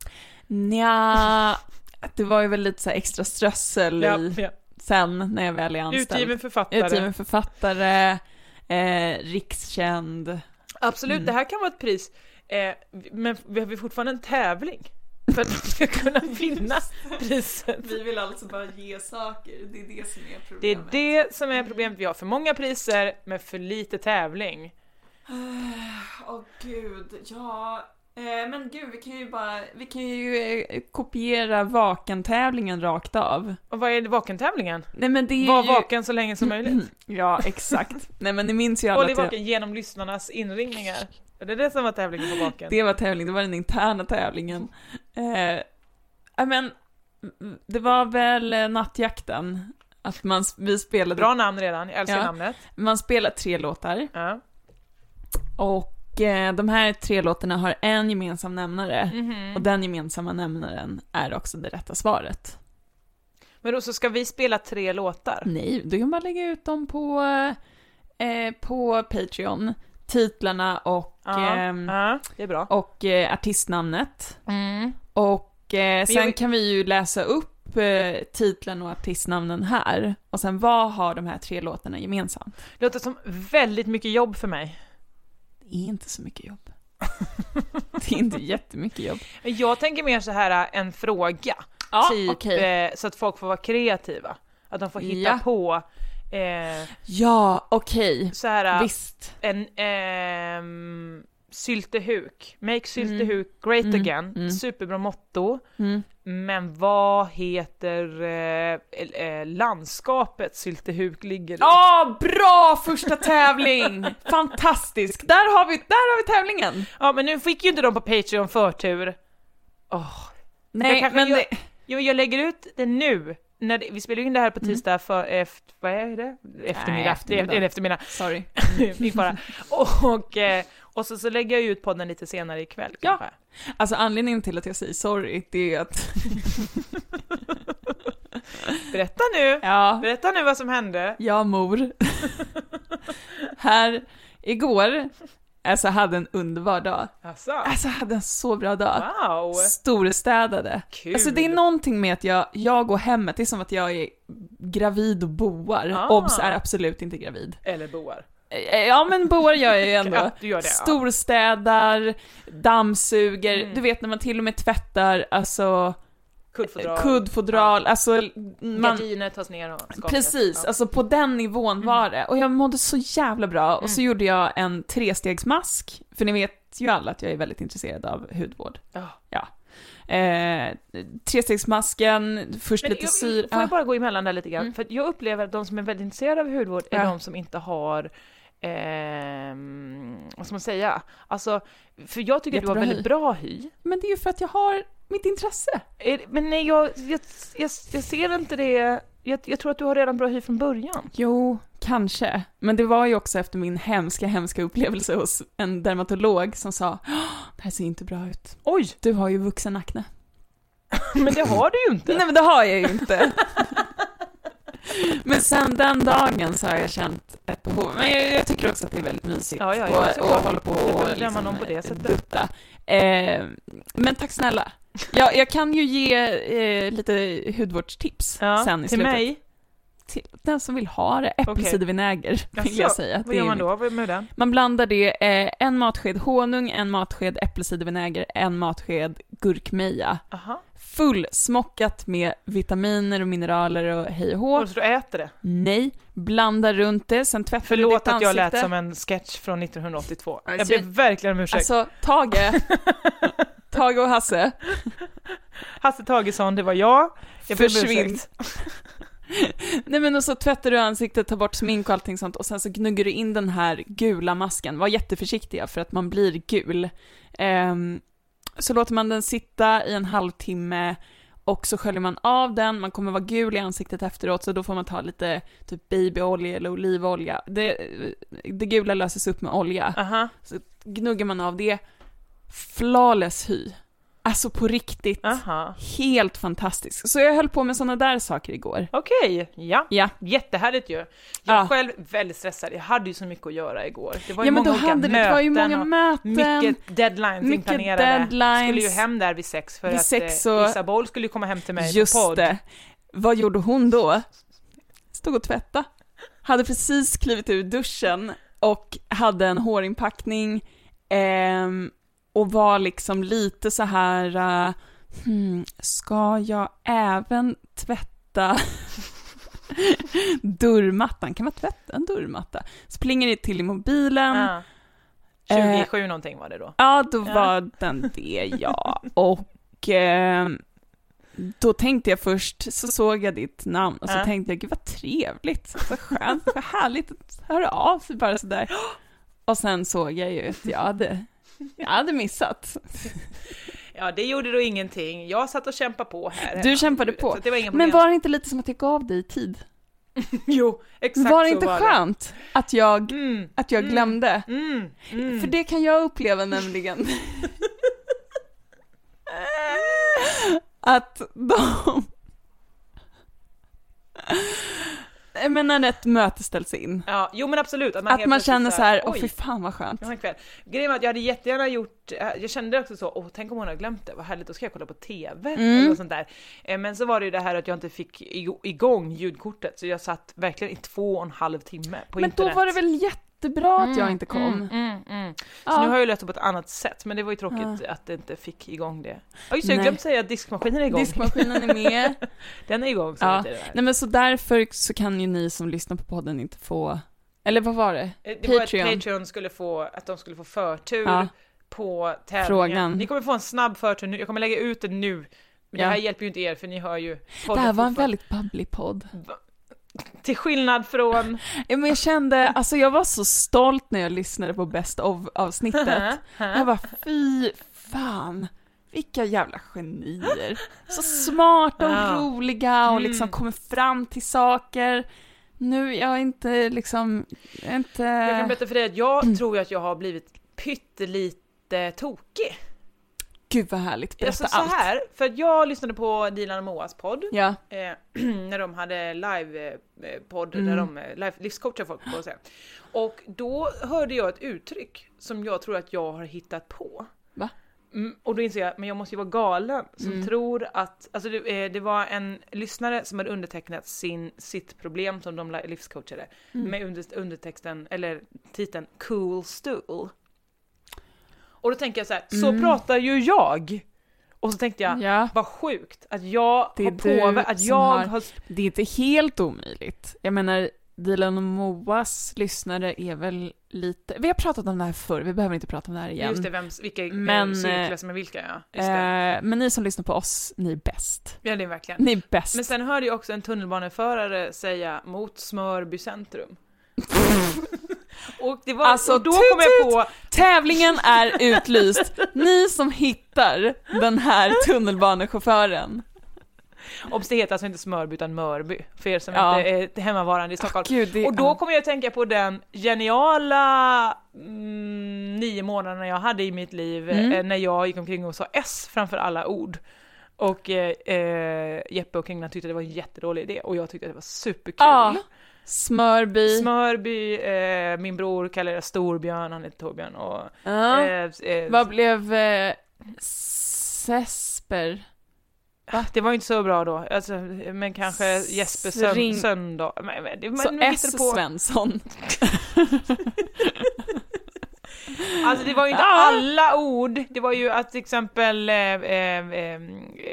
Speaker 2: Nja, det var ju väl lite så här extra strössel
Speaker 3: Ja,
Speaker 2: i,
Speaker 3: ja.
Speaker 2: sen när jag väl är anställd.
Speaker 3: Utgiven författare.
Speaker 2: Utgiven författare, eh, rikskänd.
Speaker 3: Absolut,
Speaker 2: Mm.
Speaker 3: det här kan vara ett pris. Eh, men vi har vi fortfarande en tävling för att vi ska kunna vinna priset.
Speaker 2: vill alltså bara ge saker, det är det som är problemet.
Speaker 3: Det är det som är problemet, vi har för många priser men för lite tävling.
Speaker 2: Åh gud, ja. Eh, Men gud, vi kan ju bara, vi kan ju eh, kopiera vakentävlingen rakt av.
Speaker 3: Och vad är det, vakentävlingen?
Speaker 2: Nej men det är
Speaker 3: Var
Speaker 2: ju...
Speaker 3: vaken så länge som möjligt.
Speaker 2: Ja, exakt. Nej men ni minns ju alla
Speaker 3: Håll i
Speaker 2: att jag-
Speaker 3: vaken genom lyssnarnas inringningar. Det är det som var tävlingen på vaken.
Speaker 2: Det var tävling, det var den interna tävlingen. Eh, ja, men, mm, det var väl eh, nattjakten. Att man, vi spelade,
Speaker 3: Bra namn redan, jag älskar
Speaker 2: Ja.
Speaker 3: namnet.
Speaker 2: man spelade tre låtar.
Speaker 3: Ja.
Speaker 2: Och eh, de här tre låtarna har en gemensam nämnare.
Speaker 3: Mhm.
Speaker 2: Och den gemensamma nämnaren är också det rätta svaret.
Speaker 3: Men då så ska vi spela tre låtar.
Speaker 2: Nej, du kan bara lägga ut dem på, eh, på Patreon. Titlarna och,
Speaker 3: Ja,
Speaker 2: ehm,
Speaker 3: ja, det är bra.
Speaker 2: och eh, artistnamnet. Mm. Och eh, sen
Speaker 3: vill-
Speaker 2: kan vi ju läsa upp eh, titeln och artistnamnen här. Och sen vad har de här tre låtarna gemensamt?
Speaker 3: Det låter som väldigt mycket jobb för mig.
Speaker 2: Det är inte så mycket jobb. det är inte jättemycket jobb.
Speaker 3: Men Jag tänker mer så här eh, en fråga.
Speaker 2: Ja,
Speaker 3: typ
Speaker 2: okej.
Speaker 3: eh, så att folk får vara kreativa. Att de får hitta
Speaker 2: Ja.
Speaker 3: på eh,
Speaker 2: Ja, okej.
Speaker 3: så här eh,
Speaker 2: Visst.
Speaker 3: en ehm, syltehuk.
Speaker 2: Mm.
Speaker 3: Make syltehuk great again. Superbra motto.
Speaker 2: Mm.
Speaker 3: Men vad heter eh, eh, landskapet syltehuk ligger i?
Speaker 2: Ja, bra första tävling! Fantastisk! Där har vi, där har vi tävlingen!
Speaker 3: Ja men nu fick ju inte de på Patreon förtur.
Speaker 2: Nej,
Speaker 3: kanske
Speaker 2: men
Speaker 3: gör-
Speaker 2: det...
Speaker 3: Jo jag lägger ut det nu. När det, vi spelar ju in det här på tisdag för efter, vad är det? Eftermiddag.
Speaker 2: Mm. eftermiddag.
Speaker 3: Det är en eftermiddag.
Speaker 2: Sorry.
Speaker 3: Min fara. Och, eh, och så, så lägger jag ut podden lite senare ikväll
Speaker 2: Ja.
Speaker 3: kanske.
Speaker 2: Alltså anledningen till att jag säger sorry, det är ju att...
Speaker 3: Berätta nu!
Speaker 2: Ja,
Speaker 3: Berätta nu vad som hände.
Speaker 2: Jag mor. här igår, alltså hade en underbar dag.
Speaker 3: Alltså,
Speaker 2: Alltså hade en så bra dag.
Speaker 3: wow!
Speaker 2: Storstädade.
Speaker 3: Kul.
Speaker 2: Alltså det är någonting med att jag, jag går hemmet, det är som att jag är gravid och boar.
Speaker 3: Ah.
Speaker 2: Obs är absolut inte gravid.
Speaker 3: Eller boar.
Speaker 2: Eh, Ja men boar gör jag ju ändå.
Speaker 3: Ja, du gör det, ja. Mm.
Speaker 2: Storstädar, dammsuger, du vet när man till och med tvättar, alltså
Speaker 3: Kuddfodral.
Speaker 2: kuddfodral, alltså man,
Speaker 3: Gardiner tas ner och skakas.
Speaker 2: Precis,
Speaker 3: Ja. Mm.
Speaker 2: alltså på den nivån var det. Och jag mådde så jävla bra. Och så gjorde jag en trestegsmask, för ni vet ju alla att jag är väldigt intresserad av hudvård.
Speaker 3: Ja.
Speaker 2: Ja. Eh, trestegsmasken, först
Speaker 3: Men
Speaker 2: lite
Speaker 3: jag,
Speaker 2: syra...
Speaker 3: får jag bara gå emellan där lite grann? För att jag upplever att de som är väldigt intresserade av hudvård är
Speaker 2: Ja.
Speaker 3: de som inte har ehm, vad ska man säga? Alltså, för jag tycker att du har
Speaker 2: Jättebra
Speaker 3: väldigt
Speaker 2: hy.
Speaker 3: bra hy.
Speaker 2: Men det är ju för att jag har mitt intresse.
Speaker 3: Är- Men nej, jag, jag, jag, jag ser inte det. Jag, jag tror att du har redan bra hy från början.
Speaker 2: Jo, kanske. Men det var ju också efter min hemska, hemska upplevelse hos en dermatolog som sa "Åh, det här ser inte bra ut.
Speaker 3: Oj!
Speaker 2: Du har ju vuxenakne.
Speaker 3: Men det har du ju inte.
Speaker 2: Nej men det har jag ju inte. men sen den dagen så har jag känt ett behov. Men jag, jag tycker också att det är väldigt mysigt
Speaker 3: Ja, ja, ja,
Speaker 2: och, och
Speaker 3: såklart.
Speaker 2: håller på
Speaker 3: Jag
Speaker 2: och liksom
Speaker 3: behöver döma någon på det sättet.
Speaker 2: dutta. Eh, men tack snälla. Jag, jag kan ju ge eh, lite hudvårdstips
Speaker 3: Ja,
Speaker 2: sen i
Speaker 3: till
Speaker 2: slutet.
Speaker 3: mig?
Speaker 2: Till den som vill ha det. Äppelcidervinäger vill jag
Speaker 3: Jaså,
Speaker 2: säga. att
Speaker 3: Vad
Speaker 2: det
Speaker 3: gör
Speaker 2: är
Speaker 3: man
Speaker 2: mitt-
Speaker 3: då Vad- med den?
Speaker 2: Man blandar det, eh, en matsked honung, en matsked äppelcidervinäger, en matsked gurkmeja
Speaker 3: Aha.
Speaker 2: fullsmockat med vitaminer och mineraler och hej och hå.
Speaker 3: Och så du äter det?
Speaker 2: Nej, blanda runt det, sen tvättar du
Speaker 3: Förlåt
Speaker 2: ditt
Speaker 3: att jag lät
Speaker 2: ansikte.
Speaker 3: som en sketch från 1982. Jag
Speaker 2: Alltså,
Speaker 3: ber verkligen om ursäkt.
Speaker 2: Alltså, Tage. Tage och Hasse,
Speaker 3: Hasse Tagesson, det var jag. Jag ber om
Speaker 2: försvinn.
Speaker 3: ursäkt.
Speaker 2: Nej men och så tvättar du ansiktet, tar bort smink och allting sånt och sen så gnuggar du in den här gula masken. Var jätteförsiktiga för att man blir gul. Ehm, så låter man den sitta i en halvtimme och så sköljer man av den, man kommer vara gul i ansiktet efteråt så då får man ta lite typ babyolja eller olivolja. Det, det gula löses upp med olja.
Speaker 3: Aha.
Speaker 2: Gnuggar man av det, flawless hy. Alltså på riktigt.
Speaker 3: Aha.
Speaker 2: Helt fantastisk. Så jag höll på med sådana där saker igår.
Speaker 3: Okej, ja.
Speaker 2: Ja.
Speaker 3: Jättehärligt ju. Jag
Speaker 2: Ja.
Speaker 3: själv väldigt stressad. Jag hade ju så mycket att göra igår. Det var ju
Speaker 2: Ja men
Speaker 3: många
Speaker 2: då
Speaker 3: olika
Speaker 2: hade det, det var ju
Speaker 3: möten
Speaker 2: många
Speaker 3: och
Speaker 2: möten.
Speaker 3: Mycket deadlines
Speaker 2: mycket
Speaker 3: inplanerade.
Speaker 2: deadlines.
Speaker 3: Skulle ju hem där vid sex för
Speaker 2: Vid
Speaker 3: att
Speaker 2: sex
Speaker 3: eh,
Speaker 2: och-
Speaker 3: Lisa Boll skulle ju komma hem till mig på
Speaker 2: Just
Speaker 3: podd.
Speaker 2: det. Vad gjorde hon då? Stod och tvätta. Hade precis klivit ur duschen och hade en hårinpackning ehm, och var liksom lite så här eh, hmm, ska jag även tvätta
Speaker 3: Ah,
Speaker 2: dörrmattan? Kan man tvätta en dörrmatta? Så plingar det till i mobilen.
Speaker 3: Ja.
Speaker 2: Eh,
Speaker 3: 27 någonting var det då.
Speaker 2: Ja, då
Speaker 3: Ja.
Speaker 2: var den det, ja. Och eh, då tänkte jag först, så såg jag ditt namn och så
Speaker 3: Ja.
Speaker 2: tänkte jag, gud vad trevligt, så skönt, vad härligt att höra av sig bara sådär. Och sen såg jag ju att jag hade, jag hade missat.
Speaker 3: Ja, det gjorde då ingenting. Jag satt och kämpade på här.
Speaker 2: Du
Speaker 3: hemma.
Speaker 2: kämpade på.
Speaker 3: Så det var
Speaker 2: Men
Speaker 3: inga problem.
Speaker 2: var det inte lite som att jag gav dig tid?
Speaker 3: Jo, exakt
Speaker 2: var det
Speaker 3: så
Speaker 2: inte
Speaker 3: var
Speaker 2: skönt att jag,
Speaker 3: Det. Mm,
Speaker 2: att jag glömde?
Speaker 3: mm, mm.
Speaker 2: För det kan jag uppleva nämligen. att de... Jag menar när ett möte ställs in.
Speaker 3: Ja, jo men absolut. Att man,
Speaker 2: Att
Speaker 3: helt
Speaker 2: man
Speaker 3: plötsligt
Speaker 2: känner så här, åh
Speaker 3: oj,
Speaker 2: fy fan vad skönt.
Speaker 3: jag har en kväll. Grejen var att jag hade jättegärna gjort, eh, jag kände också så, åh tänk om hon har glömt det, vad härligt, då ska jag kolla på TV
Speaker 2: Mm.
Speaker 3: eller något sånt där. Eh, Men så var det ju det här att jag inte fick i- igång ljudkortet, så jag satt verkligen i två och en halv timme på
Speaker 2: Men
Speaker 3: internet.
Speaker 2: då var det väl jättebra att jag inte kom.
Speaker 3: Mm, mm. Så
Speaker 2: Ja.
Speaker 3: nu har jag löst det på ett annat sätt, men det var ju tråkigt att det inte fick igång det. Ja just det, jag
Speaker 2: Nej.
Speaker 3: glömde säga att diskmaskinen är igång.
Speaker 2: Diskmaskinen är med.
Speaker 3: Den är igång så
Speaker 2: ja.
Speaker 3: vet jag det där.
Speaker 2: Nej men så därför så kan ju ni som lyssnar på podden inte få, eller vad var det?
Speaker 3: Eh, Det var
Speaker 2: Patreon.
Speaker 3: att Patreon skulle få, att de skulle få förtur
Speaker 2: Ja.
Speaker 3: på tävlingen.
Speaker 2: Frågan.
Speaker 3: Ni kommer få en snabb förtur nu, jag kommer lägga ut det nu. Men
Speaker 2: Ja.
Speaker 3: det här hjälper ju inte er för ni hör ju
Speaker 2: Det
Speaker 3: podden
Speaker 2: här var en
Speaker 3: fortfarande.
Speaker 2: väldigt bubbly podd.
Speaker 3: Till skillnad från...
Speaker 2: Ja, men jag kände, alltså jag var så stolt när jag lyssnade på Best of-avsnittet. Jag bara, fy fan, vilka jävla genier. Så smarta och
Speaker 3: Ja. Mm.
Speaker 2: roliga och liksom kommer fram till saker. Nu, jag är inte liksom, jag är inte...
Speaker 3: Jag kan berätta för dig att
Speaker 2: Mm.
Speaker 3: jag tror ju att jag har blivit pyttelite tokig.
Speaker 2: Gud vad härligt, berätta
Speaker 3: Alltså så
Speaker 2: allt.
Speaker 3: här, för att jag lyssnade på Dilan och Moas podd.
Speaker 2: Ja,
Speaker 3: eh, när de hade live-podd,
Speaker 2: Mm.
Speaker 3: där de eh, live, livscoachar folk på sig. Och då hörde jag ett uttryck som jag tror att jag har hittat på.
Speaker 2: Va? Mm.
Speaker 3: Mm, och då insåg jag, men jag måste ju vara galen som tror att, alltså det, eh, det var en lyssnare som hade undertecknat sin, sitt problem som de li- livscoachade
Speaker 2: Mm.
Speaker 3: med under, undertexten, eller titeln Cool Stool. Och då tänker jag så här, så pratar ju jag! Och så tänkte jag,
Speaker 2: Mm. ja.
Speaker 3: vad sjukt att jag
Speaker 2: Det är
Speaker 3: har
Speaker 2: du
Speaker 3: påver- att
Speaker 2: som
Speaker 3: jag
Speaker 2: har-
Speaker 3: har...
Speaker 2: Det är inte helt omöjligt. Jag menar, Dilan och Moas lyssnare är väl lite... Vi har pratat om det här förr, vi behöver inte prata om det här igen.
Speaker 3: Just det, vem, vilka
Speaker 2: Men,
Speaker 3: Men, cirklar som är vilka ja. Just det.
Speaker 2: Eh, men ni som lyssnar på oss, ni är bäst.
Speaker 3: Ja det är verkligen.
Speaker 2: Ni är bäst.
Speaker 3: Men sen hörde jag också en tunnelbaneförare säga mot Smörby centrum. och det var,
Speaker 2: Alltså,
Speaker 3: och då
Speaker 2: tut,
Speaker 3: kom jag på,
Speaker 2: Tävlingen är utlyst. Ni som hittar den här tunnelbanechauffören.
Speaker 3: obs det heter alltså inte Smörby utan Mörby, för er som
Speaker 2: Ja. Ah,
Speaker 3: inte är hemmavarande i Stockholm.
Speaker 2: Gud, det,
Speaker 3: och då kom jag att tänka på den geniala mm, nio månaderna jag hade i mitt liv
Speaker 2: Mm.
Speaker 3: eh, när jag gick omkring och sa S framför alla ord. Och eh, eh, Jeppe och Kringlan tyckte det var en jättedålig idé och jag tyckte att det var superkul.
Speaker 2: Ja, Smörby.
Speaker 3: Smörby, eh, min bror kallar det Storbjörn, han heter Torbjörn och...
Speaker 2: ja.
Speaker 3: eh, eh,
Speaker 2: Vad blev eh, Sesper?
Speaker 3: det var ju inte så bra då, alltså, men kanske Jesper
Speaker 2: Ring-
Speaker 3: Sön, Söndag. Men, men, det- men,
Speaker 2: Så
Speaker 3: vi hittar
Speaker 2: S.
Speaker 3: på.
Speaker 2: Svensson.
Speaker 3: Alltså det var ju inte
Speaker 2: Ah.
Speaker 3: alla ord, det var ju att till exempel eh, eh, eh,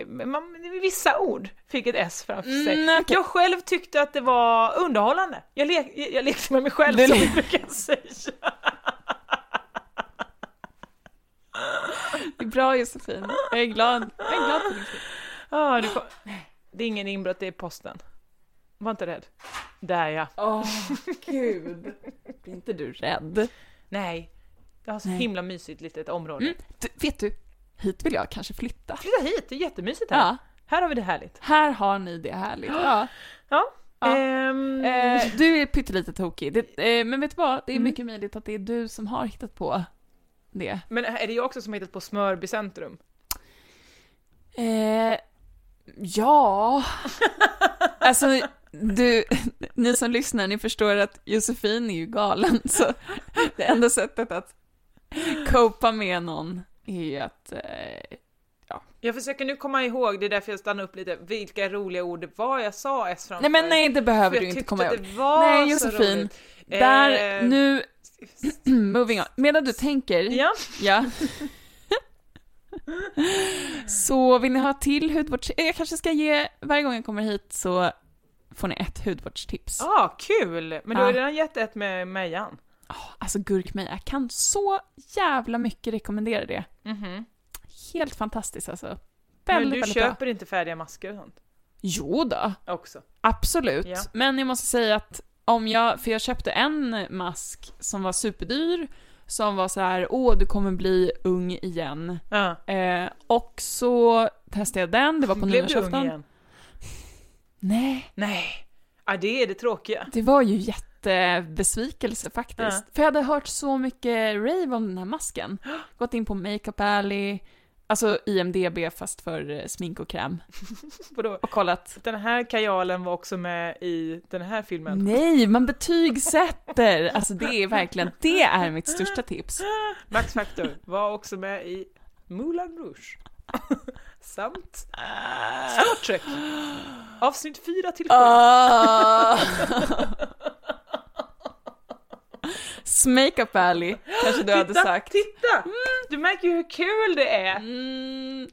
Speaker 3: man, vissa ord fick ett S framför sig.
Speaker 2: Mm, okej.
Speaker 3: Jag själv tyckte att det var underhållande. Jag, le- jag, jag lekte med mig själv
Speaker 2: Du
Speaker 3: som
Speaker 2: le-
Speaker 3: vi brukar säga.
Speaker 2: Det är bra Josefin. Jag är glad. Jag är glad för din skull.
Speaker 3: Ah, det, kom... det är ingen inbrott, det är posten. Var inte rädd. Där ja.
Speaker 2: Åh, gud. Blir inte du rädd?
Speaker 3: Nej. Jag har så
Speaker 2: Nej.
Speaker 3: himla mysigt litet område.
Speaker 2: Mm. Du, vet du, hit vill jag kanske flytta.
Speaker 3: Flytta hit, det är jättemysigt här.
Speaker 2: Ja,
Speaker 3: Här har vi det härligt.
Speaker 2: här har ni det härligt. Ja.
Speaker 3: Ja.
Speaker 2: Ja.
Speaker 3: Ehm,
Speaker 2: Eh, du är pyttelite tokig, det, eh, men vet du vad?
Speaker 3: Mm.
Speaker 2: Det är mycket möjligt att det är du som har hittat på det.
Speaker 3: Men är det jag också som har hittat på Smörby centrum?
Speaker 2: Eh, ja... Alltså, du, ni som lyssnar, ni förstår att Josefin är ju galen, så det enda sättet att copa med någon är ju att... Eh,
Speaker 3: Jag försöker nu komma ihåg, det är därför jag stannar upp lite, vilka roliga ord det var jag sa S framför.
Speaker 2: nej men nej, det
Speaker 3: För
Speaker 2: behöver
Speaker 3: jag
Speaker 2: du inte
Speaker 3: tyckte
Speaker 2: komma
Speaker 3: att
Speaker 2: ihåg.
Speaker 3: Det var
Speaker 2: Nej,
Speaker 3: så
Speaker 2: Josefin.
Speaker 3: roligt.
Speaker 2: Där,
Speaker 3: Eh,
Speaker 2: nu, moving on. Medan du tänker...
Speaker 3: Ja,
Speaker 2: Ja. så vill ni ha till hudvårds... eh, Jag kanske ska ge, varje gång jag kommer hit så får ni ett hudvårdstips.
Speaker 3: ah, kul! Men du har
Speaker 2: Ja.
Speaker 3: redan gett ett med Mejan.
Speaker 2: Oh, alltså gurkmeja, jag kan så jävla mycket rekommendera det.
Speaker 3: Mhm.
Speaker 2: Helt fantastiskt alltså. Väldigt,
Speaker 3: Men du
Speaker 2: väldigt
Speaker 3: köper
Speaker 2: bra.
Speaker 3: inte färdiga masker och sånt?
Speaker 2: Jo då,
Speaker 3: Också.
Speaker 2: absolut.
Speaker 3: Ja.
Speaker 2: Men jag måste säga att om jag, för jag köpte en mask som var superdyr, som var så här, åh du kommer bli ung igen.
Speaker 3: Ja.
Speaker 2: Eh, och så testade jag den, det var på
Speaker 3: Blev du ung
Speaker 2: nyårsafton.
Speaker 3: igen?
Speaker 2: Nej,
Speaker 3: Nej. Ja, det är det tråkiga.
Speaker 2: Det var ju jättebesvikelse faktiskt.
Speaker 3: Ja.
Speaker 2: För jag hade hört så mycket rave om den här masken. Gått in på Makeup Alley, alltså IMDB fast för eh, smink och kräm.
Speaker 3: Vadå?
Speaker 2: Och kollat.
Speaker 3: Den här kajalen var också med i den här filmen.
Speaker 2: Nej, man betygsätter! Alltså det är verkligen, det är mitt största tips.
Speaker 3: Max Factor var också med i Moulin Rouge. Samt Star Trek. Avsnitt 4 till 7.
Speaker 2: Ah,
Speaker 3: Ah.
Speaker 2: Makeup Alley, kanske du hade
Speaker 3: titta,
Speaker 2: sagt.
Speaker 3: titta! Du märker ju hur kul det är.
Speaker 2: Mm,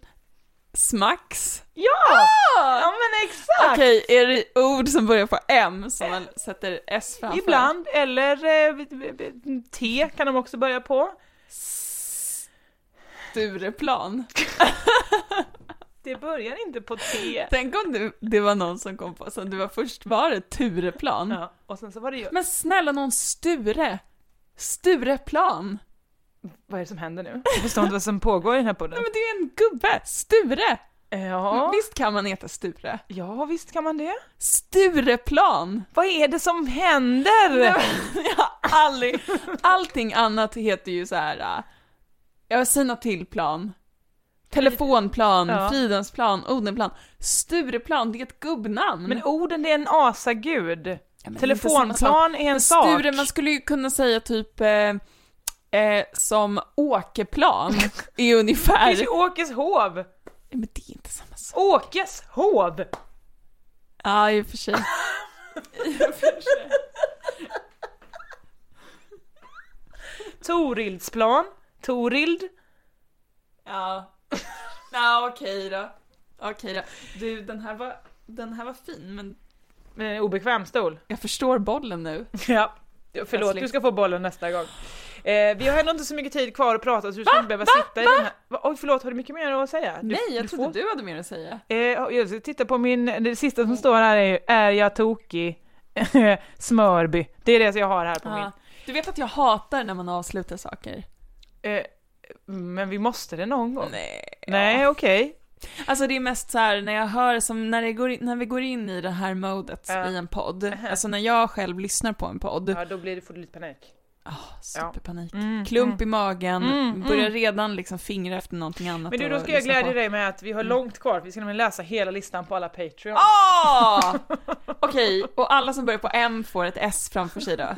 Speaker 2: smacks.
Speaker 3: Ja! Ja men exakt!
Speaker 2: Ah! Okej, är det ord som börjar på M som man sätter S framför?
Speaker 3: Ibland, eller eh, b- b- b- T kan de också börja på.
Speaker 2: Stureplan.
Speaker 3: Det börjar inte på T.
Speaker 2: Tänk om du, det var någon som kom på som du var först var det Tureplan.
Speaker 3: Ja, och sen så var det ju...
Speaker 2: Men snälla någon Sture. Stureplan.
Speaker 3: Vad är det som händer nu? Jag förstår inte vad som pågår i den här podden.
Speaker 2: Nej men det är ju en gubbe. Sture.
Speaker 3: Ja,
Speaker 2: Visst kan man heta Sture?
Speaker 3: ja, visst kan man det.
Speaker 2: Stureplan.
Speaker 3: Vad är det som händer?
Speaker 2: Jag har aldrig... Allting annat heter ju så här. äh, Jag vill säga något till plan. Telefonplan,
Speaker 3: Ja.
Speaker 2: Fridhemsplan, Odenplan. Stureplan, det är ett gubbnamn.
Speaker 3: Men orden, det är en asagud.
Speaker 2: Ja, men det är inte samma sak.
Speaker 3: Telefonplan är en sak.
Speaker 2: Sture, man skulle ju kunna säga typ eh, eh, som åkeplan är
Speaker 3: Det
Speaker 2: ungefär...
Speaker 3: finns ju Åkeshov.
Speaker 2: Nej, Men det är inte samma sak.
Speaker 3: Åkeshov!
Speaker 2: Ja, i och för sig.
Speaker 3: Torildsplan. Torild.
Speaker 2: Ja. Ja, okej då. Okej då. Du, den här, var, den här var fin, men
Speaker 3: Eh, obekväm stol.
Speaker 2: jag förstår bollen nu.
Speaker 3: Ja. Förlåt,
Speaker 2: Festligt.
Speaker 3: du ska få bollen nästa gång. Eh, vi har ändå inte så mycket tid kvar att prata så du ska
Speaker 2: Va?
Speaker 3: inte behöva
Speaker 2: Va?
Speaker 3: sitta i den här... Va? Oj förlåt, har du mycket mer att säga? Du,
Speaker 2: Nej, jag
Speaker 3: du
Speaker 2: trodde
Speaker 3: får-
Speaker 2: du hade mer att säga.
Speaker 3: Eh, jag tittar på min... Det sista som står här är ju, är jag tokig? Smörby. Det är det jag har här på min.
Speaker 2: Ja. Du vet att jag hatar när man avslutar saker.
Speaker 3: Eh, men vi måste det någon gång.
Speaker 2: Nej.
Speaker 3: Nej, okej.
Speaker 2: Alltså det är mest så här när jag hör, som när, det går in, när vi går in i det här modet
Speaker 3: Ja.
Speaker 2: i en podd, alltså när jag själv lyssnar på en podd,
Speaker 3: Ja, då blir det, får du lite panik.
Speaker 2: superpanik.
Speaker 3: Mm,
Speaker 2: Klump i magen, börjar redan liksom fingra efter någonting annat
Speaker 3: Men du,
Speaker 2: och
Speaker 3: då ska jag
Speaker 2: lyssna
Speaker 3: glädja
Speaker 2: på. Mm.
Speaker 3: dig med att vi har långt kvar, vi ska nämligen läsa hela listan på alla Patreon.
Speaker 2: Ah! Okej, och alla som börjar på M får ett S framför sig då?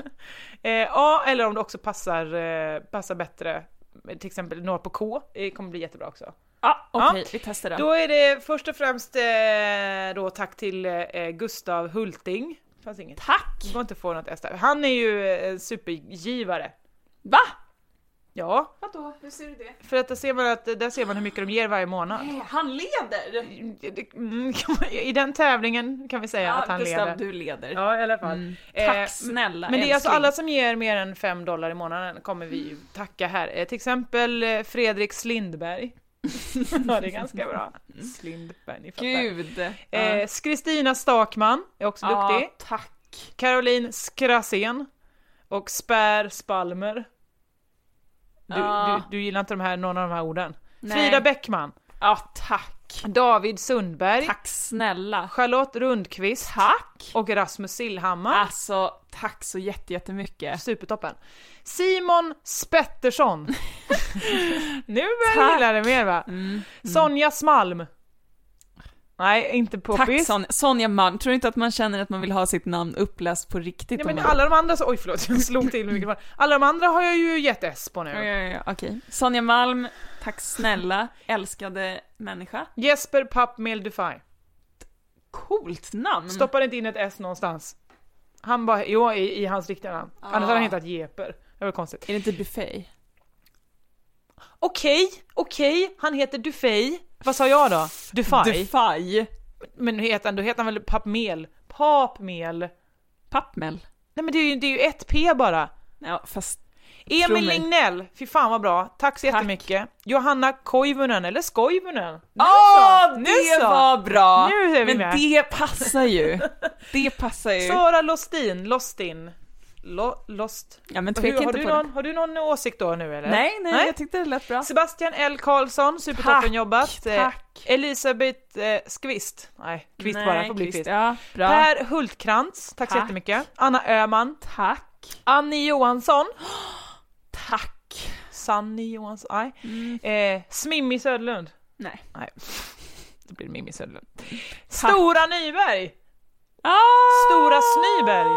Speaker 3: Eh, ja, eller om det också passar, eh, passar bättre, till exempel några på K, det kommer bli jättebra också.
Speaker 2: Ja, okej,
Speaker 3: Ja.
Speaker 2: vi testar det.
Speaker 3: Då är det först och främst eh, då tack till eh, Gustav Hulting. Fanns inget.
Speaker 2: Tack!
Speaker 3: Det går inte att få något S där. Han är ju eh, supergivare.
Speaker 2: Va?
Speaker 3: Ja,
Speaker 2: Vadå, hur ser du det?
Speaker 3: för att där ser man att där ser man hur mycket de ger varje månad.
Speaker 2: Eh, Han leder!
Speaker 3: Mm, kan man- I den tävlingen kan vi säga
Speaker 2: Ja,
Speaker 3: att han
Speaker 2: Gustav,
Speaker 3: leder.
Speaker 2: du leder.
Speaker 3: Ja, i alla fall. Eh,
Speaker 2: Tack snälla
Speaker 3: Men det är alltså
Speaker 2: älskling.
Speaker 3: alla som ger mer än 5 dollar i månaden kommer vi ju tacka här. Eh, Till exempel eh, Fredrik Slindberg. ja, det är ganska bra. Slindberg, ni fattar.
Speaker 2: Gud!
Speaker 3: Eh, Kristina Stakman är också duktig.
Speaker 2: tack.
Speaker 3: Caroline Skrasen och Spär Spalmer. Du,
Speaker 2: Ja.
Speaker 3: du, du gillar inte de här, någon av de här orden.
Speaker 2: Nej.
Speaker 3: Frida Bäckman,
Speaker 2: Ja, tack.
Speaker 3: David Sundberg,
Speaker 2: Tack snälla.
Speaker 3: Charlotte Rundqvist
Speaker 2: Tack!
Speaker 3: och Rasmus Sillhammar.
Speaker 2: Alltså, tack så jätte- jättemycket.
Speaker 3: Supertoppen. Simon Spettersson. nu börjar jag gilla det mer va? Sonja Smalm. Nej, inte
Speaker 2: Tack
Speaker 3: poppis.
Speaker 2: Sonja, Sonja Malm. Tror du inte att man känner att man vill ha sitt namn uppläst på riktigt?
Speaker 3: Nej,
Speaker 2: om
Speaker 3: men
Speaker 2: man-
Speaker 3: alla de andra, så, oj förlåt jag slog till med mikrofonen. Alla de andra har jag ju gett S på
Speaker 2: Ja,
Speaker 3: nu.
Speaker 2: ja, ja, okej. Sonja Malm, tack snälla, älskade människa.
Speaker 3: Jesper Pappmel Defy.
Speaker 2: Coolt namn!
Speaker 3: Stoppade inte in ett S någonstans. Han bara, jo i, i hans riktiga namn. Annars hade han hetat Jeper. Det var konstigt.
Speaker 2: Är det inte buffé?
Speaker 3: Okej, okej, han heter Dufay. Vad sa jag då? Dufay?
Speaker 2: Defy.
Speaker 3: men nu heter han, då heter han väl Pappmel? Papmel?
Speaker 2: Pappmel.
Speaker 3: Nej men det är ju, det är ju ett P bara.
Speaker 2: Ja, fast Tro
Speaker 3: Emil
Speaker 2: mig.
Speaker 3: Lignell, fy fan vad bra. Tack så jättemycket. Johanna Koivunen, eller Skoivunen.
Speaker 2: Åh,
Speaker 3: så, nu
Speaker 2: det
Speaker 3: så.
Speaker 2: var bra!
Speaker 3: Nu är vi
Speaker 2: Men
Speaker 3: med.
Speaker 2: det passar ju. Det passar ju.
Speaker 3: Sara Lostin, Lostin. Lo, lost.
Speaker 2: ja, men
Speaker 3: Hur,
Speaker 2: tveka
Speaker 3: har,
Speaker 2: inte
Speaker 3: du
Speaker 2: på det.
Speaker 3: någon, har du någon åsikt då nu eller?
Speaker 2: Nej, nej, jag tyckte det lät bra.
Speaker 3: Sebastian L. Karlsson, supertoppen
Speaker 2: Tack,
Speaker 3: jobbat. Eh,
Speaker 2: tack.
Speaker 3: Elisabeth eh, Skvist, nej Kvist bara, får bli
Speaker 2: Kvist.
Speaker 3: Kvist.
Speaker 2: Ja, bra.
Speaker 3: Per Hultkrantz, tack så
Speaker 2: Tack.
Speaker 3: jättemycket. Anna Öhman,
Speaker 2: Tack.
Speaker 3: Annie Johansson,
Speaker 2: Tack.
Speaker 3: Sanni Johansson, nej.
Speaker 2: Mm.
Speaker 3: Eh, Smimmi Söderlund.
Speaker 2: Nej.
Speaker 3: nej. Det blir Mimmi Söderlund. Stora Nyberg!
Speaker 2: Ah!
Speaker 3: Stora Snyberg.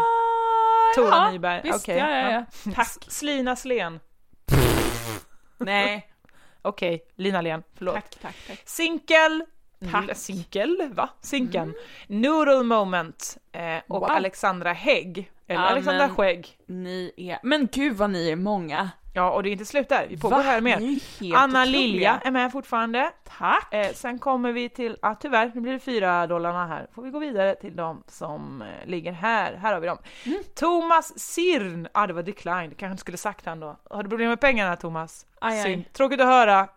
Speaker 3: Tora
Speaker 2: ja,
Speaker 3: Nyberg.
Speaker 2: Visst,
Speaker 3: Okej.
Speaker 2: ja, ja, ja.
Speaker 3: Tack. Slina Slen. Nej. Okej, Lina Len, förlåt.
Speaker 2: Tack, tack, tack.
Speaker 3: Sinkel.
Speaker 2: Tack. Mm.
Speaker 3: L- Sinkel, va? Sinken. Neural Moment eh, och
Speaker 2: Wow.
Speaker 3: Alexandra Hägg. Eller
Speaker 2: Ja,
Speaker 3: Alexandra
Speaker 2: men-
Speaker 3: Skägg.
Speaker 2: Ni är... Men gud vad ni är många.
Speaker 3: Ja, och det är inte slut där. Vi pågår
Speaker 2: Va? Ni
Speaker 3: här mer.
Speaker 2: är helt
Speaker 3: Anna
Speaker 2: otroliga.
Speaker 3: Lilja är med fortfarande.
Speaker 2: Tack.
Speaker 3: Eh, sen kommer vi till, ah, tyvärr, nu blir det fyra dollarna här. Får vi gå vidare till de som eh, ligger här. Här har vi dem.
Speaker 2: Mm.
Speaker 3: Thomas Sirn, ah det var decline, det kanske inte skulle sagt han då. Har du problem med pengarna Thomas?
Speaker 2: Aj, aj.
Speaker 3: Synd. Tråkigt att höra.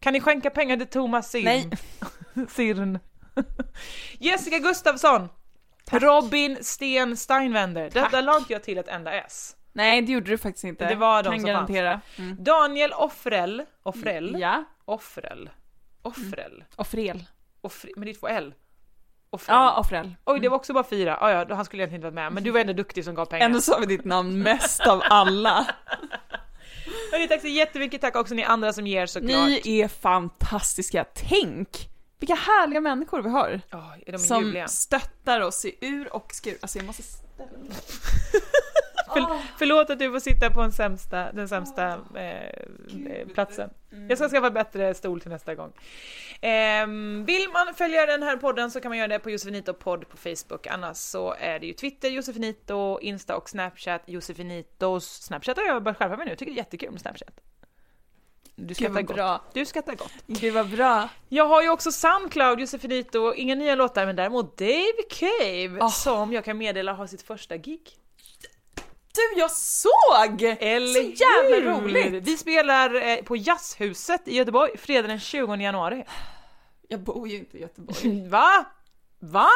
Speaker 3: Kan ni skänka pengar till Thomas Sirn?
Speaker 2: Nej.
Speaker 3: Sirn. Jessica Gustafsson. Robin Sten Steinwender. Detta la inte jag till ett enda S.
Speaker 2: Nej, det gjorde du faktiskt inte.
Speaker 3: Det var de
Speaker 2: kan
Speaker 3: som
Speaker 2: garantera. Mm.
Speaker 3: Daniel Offrell. Offrell?
Speaker 2: Ja.
Speaker 3: Offrell. Offrell.
Speaker 2: Offrel.
Speaker 3: Offrell. Men det är två L. Offrell.
Speaker 2: Ja, mm. Offrel.
Speaker 3: Oj, det var också bara fyra. Ah, ja, då- han skulle egentligen inte varit med, men du var ändå duktig som gav pengar.
Speaker 2: Ändå sa vi ditt namn mest av alla.
Speaker 3: Hörni, tack så jättemycket, tack också ni andra som ger såklart.
Speaker 2: Ni är fantastiska. Tänk vilka härliga människor vi har.
Speaker 3: Åh, är de
Speaker 2: som
Speaker 3: ljuvliga?
Speaker 2: stöttar oss i ur och skur. Alltså jag måste...
Speaker 3: För, förlåt att du får sitta på en sämsta, den sämsta eh, eh, platsen. Jag ska skaffa bättre stol till nästa gång. Ehm, vill man följa den här podden så kan man göra det på Josefinito podd på Facebook. Annars så är det ju Twitter, Josefinito, Insta och Snapchat, Josefinitos. Snapchat har jag börjat skärpa mig nu, jag tycker det är jättekul med Snapchat. Du skrattar
Speaker 2: vad
Speaker 3: gott.
Speaker 2: bra.
Speaker 3: Du skrattar gott.
Speaker 2: Gud vad bra.
Speaker 3: Jag har ju också Soundcloud, Josefinito, inga nya låtar men däremot Dave Cave
Speaker 2: Ah.
Speaker 3: som jag kan meddela har sitt första gig.
Speaker 2: Du, jag såg!
Speaker 3: Eller
Speaker 2: så jävla
Speaker 3: hur?
Speaker 2: roligt!
Speaker 3: Vi spelar eh, på Jazzhuset i Göteborg fredag den 20 januari.
Speaker 2: Jag bor ju inte i Göteborg.
Speaker 3: Va? Va?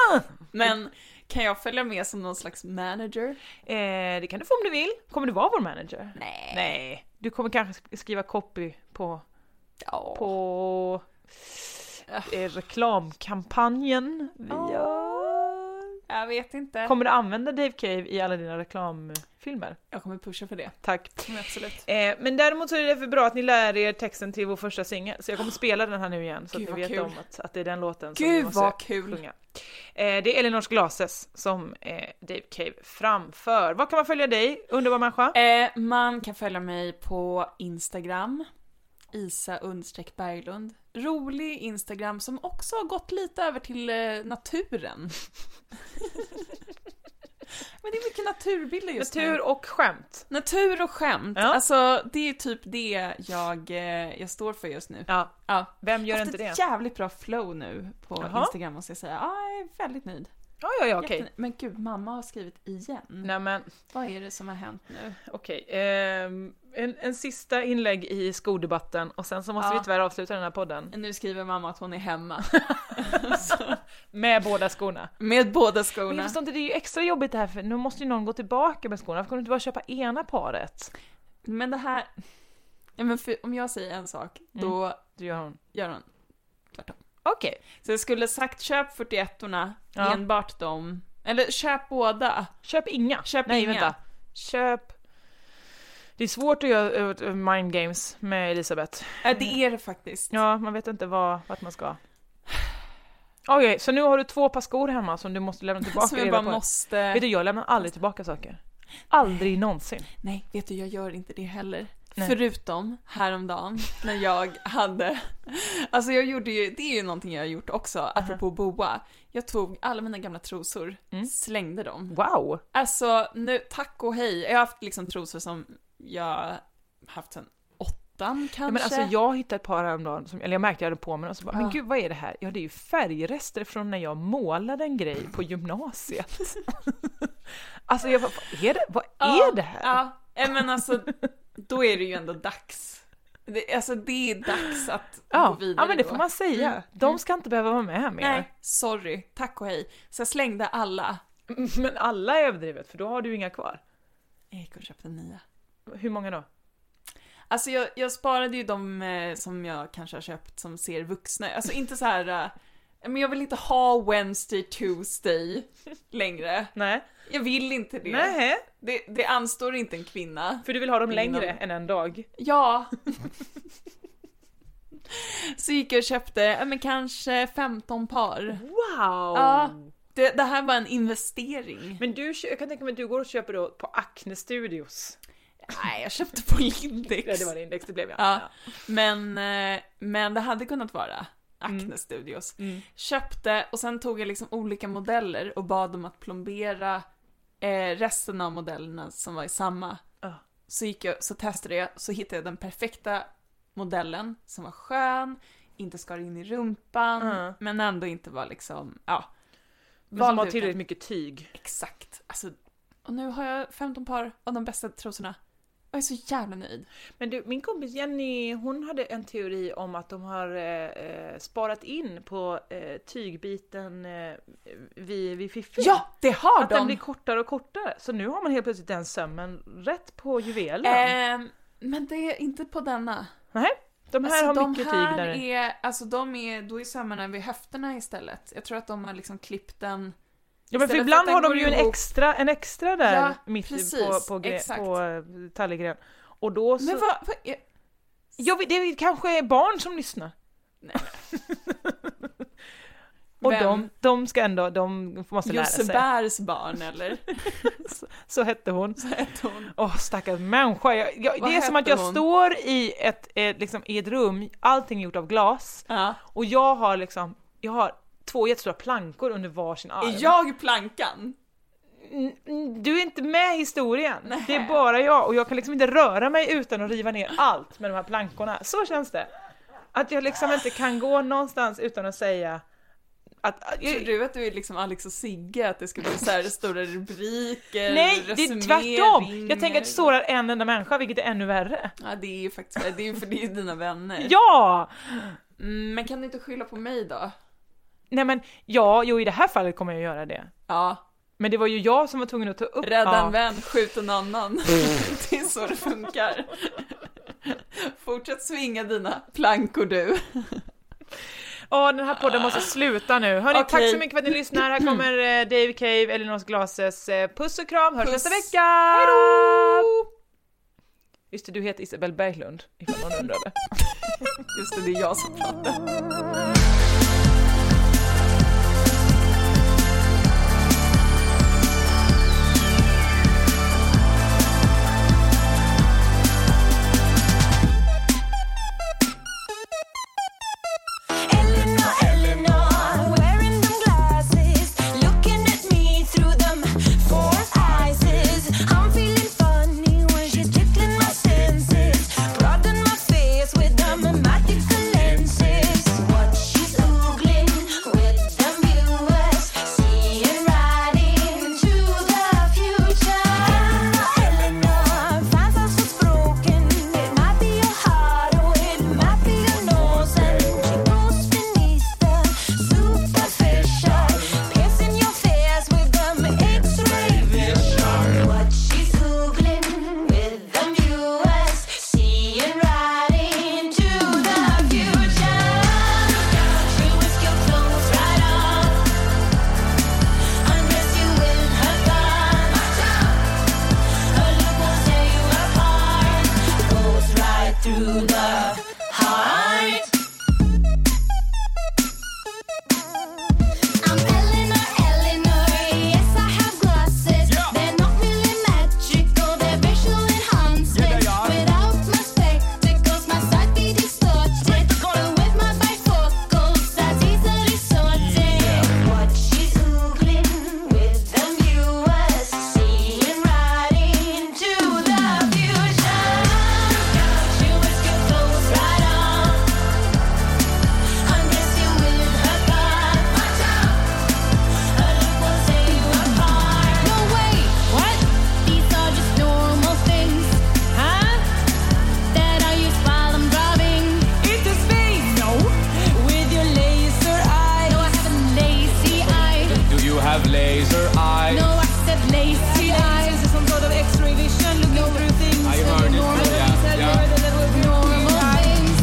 Speaker 2: Men kan jag följa med som någon slags manager?
Speaker 3: Eh, det kan du få om du vill. Kommer du vara vår manager?
Speaker 2: Nej.
Speaker 3: Nej. Du kommer kanske sk- skriva copy på,
Speaker 2: Ja.
Speaker 3: på eh, reklamkampanjen vi gör.
Speaker 2: Jag vet inte.
Speaker 3: Kommer du använda Dave Cave i alla dina reklamfilmer?
Speaker 2: Jag kommer pusha för det.
Speaker 3: Tack.
Speaker 2: Men absolut.
Speaker 3: Eh, men däremot så är det för bra att ni lär er texten till vår första singel, så jag kommer spela den här nu igen så
Speaker 2: Gud,
Speaker 3: att ni
Speaker 2: vad
Speaker 3: vet
Speaker 2: kul.
Speaker 3: om att, att det är den låten som
Speaker 2: Gud,
Speaker 3: vi måste
Speaker 2: vad kul.
Speaker 3: sjunga. Eh, det är Elinors Glases som eh, Dave Cave framför. Var kan man följa dig, underbar människa?
Speaker 2: Eh, man kan följa mig på Instagram. Isa understreck Berglund. Rolig Instagram som också har gått lite över till eh, naturen. Men det är mycket naturbilder just nu.
Speaker 3: Natur och skämt.
Speaker 2: Natur och skämt.
Speaker 3: Ja.
Speaker 2: Alltså det är typ det jag, eh, jag står för just nu.
Speaker 3: Ja,
Speaker 2: Ja.
Speaker 3: vem gör
Speaker 2: haft
Speaker 3: inte det?
Speaker 2: ett jävligt bra flow nu på
Speaker 3: Jaha.
Speaker 2: Instagram måste jag säga. Ja, jag är väldigt nöjd.
Speaker 3: Ja, ja, ja, okej.
Speaker 2: Jättenöjd. Men gud, mamma har skrivit igen.
Speaker 3: Nej men
Speaker 2: Vad är det som har hänt nu?
Speaker 3: okej, Ehm, en, en sista inlägg i skoldebatten och sen så måste
Speaker 2: Ja.
Speaker 3: vi tyvärr avsluta den här podden.
Speaker 2: Nu skriver mamma att hon är hemma.
Speaker 3: Med båda skorna.
Speaker 2: Med båda
Speaker 3: Men jag
Speaker 2: skorna.
Speaker 3: förstår inte, det är ju extra jobbigt det här för nu måste ju någon gå tillbaka med skorna, varför kan du inte bara köpa ena paret?
Speaker 2: Men det här... Ja, men för, om jag säger en sak,
Speaker 3: Mm.
Speaker 2: då
Speaker 3: Det gör hon.
Speaker 2: gör hon.
Speaker 3: Okej.
Speaker 2: Så jag skulle sagt köp 41orna,
Speaker 3: Ja.
Speaker 2: enbart dem. Eller köp båda.
Speaker 3: Köp inga.
Speaker 2: Köp
Speaker 3: Nej,
Speaker 2: inga.
Speaker 3: vänta. Köp... Det är svårt att göra eh, mind games med Elisabeth.
Speaker 2: Ja, Äh, det är det faktiskt.
Speaker 3: Mm. Ja, man vet inte vad, vart man ska. Okej, så nu har du två par skor hemma som du måste lämna tillbaka.
Speaker 2: Som jag
Speaker 3: i
Speaker 2: bara
Speaker 3: reda på.
Speaker 2: måste...
Speaker 3: Vet du, jag lämnar aldrig tillbaka saker. Aldrig någonsin.
Speaker 2: Nej, vet du, jag gör inte det heller.
Speaker 3: Nej.
Speaker 2: Förutom häromdagen när jag hade... Alltså jag gjorde ju, det är ju någonting jag har gjort också, apropå boa. Jag tog alla mina gamla trosor,
Speaker 3: Mm.
Speaker 2: slängde dem.
Speaker 3: Wow!
Speaker 2: Alltså nu, tack och hej. Jag har haft liksom trosor som jag haft sedan åttan kanske.
Speaker 3: Ja, men alltså jag hittade ett par häromdagen, som, eller jag märkte jag hade på mig och så bara, men gud vad är det här? Ja det är ju färgrester från när jag målade en grej på gymnasiet. alltså jag bara, vad är det, vad
Speaker 2: Ja,
Speaker 3: är det här?
Speaker 2: Ja, Eh, Men alltså, då är det ju ändå dags. Det, alltså det är dags att gå
Speaker 3: Ja,
Speaker 2: vidare
Speaker 3: ja men det
Speaker 2: då.
Speaker 3: får man säga. De ska inte behöva vara med mer.
Speaker 2: Nej, sorry. Tack och hej. Så jag slängde alla.
Speaker 3: Men alla är överdrivet för då har du inga kvar.
Speaker 2: Jag gick och köpte nya.
Speaker 3: Hur många då?
Speaker 2: Alltså jag, jag sparade ju de eh, som jag kanske har köpt som ser vuxna Alltså inte så här... eh, Men jag vill inte ha Wednesday, Tuesday längre.
Speaker 3: Nej.
Speaker 2: Jag vill inte det.
Speaker 3: Nej,
Speaker 2: Det, det anstår inte en kvinna.
Speaker 3: för du vill ha dem
Speaker 2: Inom-
Speaker 3: längre än en dag.
Speaker 2: Ja. Så gick jag och köpte, ja, men kanske 15 par.
Speaker 3: Wow!
Speaker 2: Ja, det, det här var en investering.
Speaker 3: Men du, kö- jag kan tänka mig att du går och köper då på Acne Studios.
Speaker 2: Nej, jag köpte på Lindex.
Speaker 3: Nej, det var det index det blev ja.
Speaker 2: Ja, men, eh, men det hade kunnat vara Acne Studios. Köpte och sen tog jag liksom olika modeller och bad dem att plombera eh, resten av modellerna som var i samma.
Speaker 3: Ja.
Speaker 2: Så gick jag, så testade jag, så hittade jag den perfekta modellen som var skön, inte skar in i rumpan,
Speaker 3: Mm.
Speaker 2: men ändå inte var liksom, ja.
Speaker 3: Men som
Speaker 2: Valde
Speaker 3: har
Speaker 2: ut
Speaker 3: tillräckligt
Speaker 2: den.
Speaker 3: mycket tyg.
Speaker 2: Exakt. Alltså, och nu har jag 15 par av de bästa trosorna. Jag är så jävla nöjd.
Speaker 3: Men du, min kompis Jenny, hon hade en teori om att de har eh, eh, sparat in på eh, tygbiten eh, vid, vid fiffin.
Speaker 2: Ja, det har
Speaker 3: Att
Speaker 2: de!
Speaker 3: den blir kortare och kortare. Så nu har man helt plötsligt den sömmen rätt på juvelen.
Speaker 2: Ehm, men det är inte på denna.
Speaker 3: Nej, de här
Speaker 2: Alltså,
Speaker 3: har
Speaker 2: de
Speaker 3: mycket
Speaker 2: här
Speaker 3: tyg där. i.
Speaker 2: är, alltså de är, då är sömmarna vid höfterna istället. Jag tror att de har liksom klippt den.
Speaker 3: Ja men
Speaker 2: istället
Speaker 3: för
Speaker 2: för att
Speaker 3: ibland
Speaker 2: den
Speaker 3: har de
Speaker 2: går
Speaker 3: ju en
Speaker 2: ihop.
Speaker 3: extra, en extra där
Speaker 2: Ja,
Speaker 3: mitt i-
Speaker 2: precis,
Speaker 3: på, på, gre-
Speaker 2: exakt.
Speaker 3: på eh, tallergren. Och då så...
Speaker 2: Men vad, vad är,
Speaker 3: Jag vet, det är kanske är barn som lyssnar.
Speaker 2: Nej.
Speaker 3: Och
Speaker 2: Vem?
Speaker 3: de, de ska ändå, de måste lära sig.
Speaker 2: Josebärs barn eller?
Speaker 3: Så hette hon.
Speaker 2: Så heter hon.
Speaker 3: Åh stackars människa. Jag, jag,
Speaker 2: Vad
Speaker 3: det är som att
Speaker 2: hette
Speaker 3: jag
Speaker 2: hon?
Speaker 3: står i ett, eh, liksom, i ett rum, allting är gjort av glas.
Speaker 2: Ja.
Speaker 3: Och jag har liksom, jag har två jättestora plankor under varsin arm.
Speaker 2: Är jag plankan?
Speaker 3: N- n- Du är inte med i historien. Det är bara jag och jag kan liksom inte röra mig utan att riva ner allt med de här plankorna. Så känns det. Att jag liksom inte kan gå någonstans utan att säga att... att
Speaker 2: Tror
Speaker 3: jag,
Speaker 2: du att du är liksom Alex och Sigge? Att det ska bli så här stora rubriker?
Speaker 3: nej, det är tvärtom! Jag tänker att det
Speaker 2: så.
Speaker 3: sårar en enda människa, vilket är ännu värre.
Speaker 2: Ja, det är ju faktiskt det är ju för det är ju dina vänner.
Speaker 3: Ja!
Speaker 2: Mm, men kan du inte skylla på mig då?
Speaker 3: Nej men, ja, jo i det här fallet kommer jag göra det.
Speaker 2: Ja,
Speaker 3: Men det var ju jag som var tvungen att ta upp...
Speaker 2: Rädda
Speaker 3: ja.
Speaker 2: en vän, skjut en annan. det är så det funkar. Fortsätt svinga dina plankor du.
Speaker 3: Ja, den här podden måste sluta nu. Hörni, tack
Speaker 2: Okej.
Speaker 3: så mycket för att ni lyssnar. Här kommer eh, Dave Cave, Elinors Glases. eh, Puss och kram, hörs
Speaker 2: Puss.
Speaker 3: nästa vecka! Hejdå! Just det, du heter Isabel Berglund, ifall någon undrade.
Speaker 2: Just det, det är jag som pratar.
Speaker 4: Broaden my face with the magical lenses. What she's
Speaker 5: of laser eyes.
Speaker 6: No, I said lazy eyes.
Speaker 4: Some sort of X-ray vision looking through things.
Speaker 5: I heard it.
Speaker 4: Normal
Speaker 5: Yeah,
Speaker 4: things that
Speaker 5: yeah.
Speaker 4: were- that were
Speaker 6: Normal things.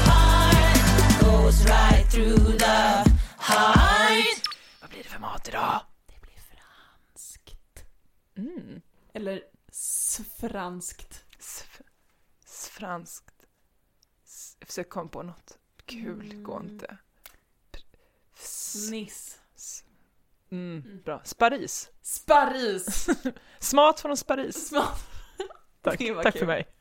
Speaker 4: Vad blir det för mat idag?
Speaker 3: Mm.
Speaker 2: Eller franskt.
Speaker 4: Sf- s- franskt. S- Jag försöker komma på något kul, det går inte. Pr- s-
Speaker 2: Niss.
Speaker 4: s- Mm, bra. Sparis.
Speaker 2: Sparris.
Speaker 4: Smart från Sparis.
Speaker 2: Smart.
Speaker 4: Tack,
Speaker 2: Det var
Speaker 4: Tack
Speaker 2: kul.
Speaker 4: för mig.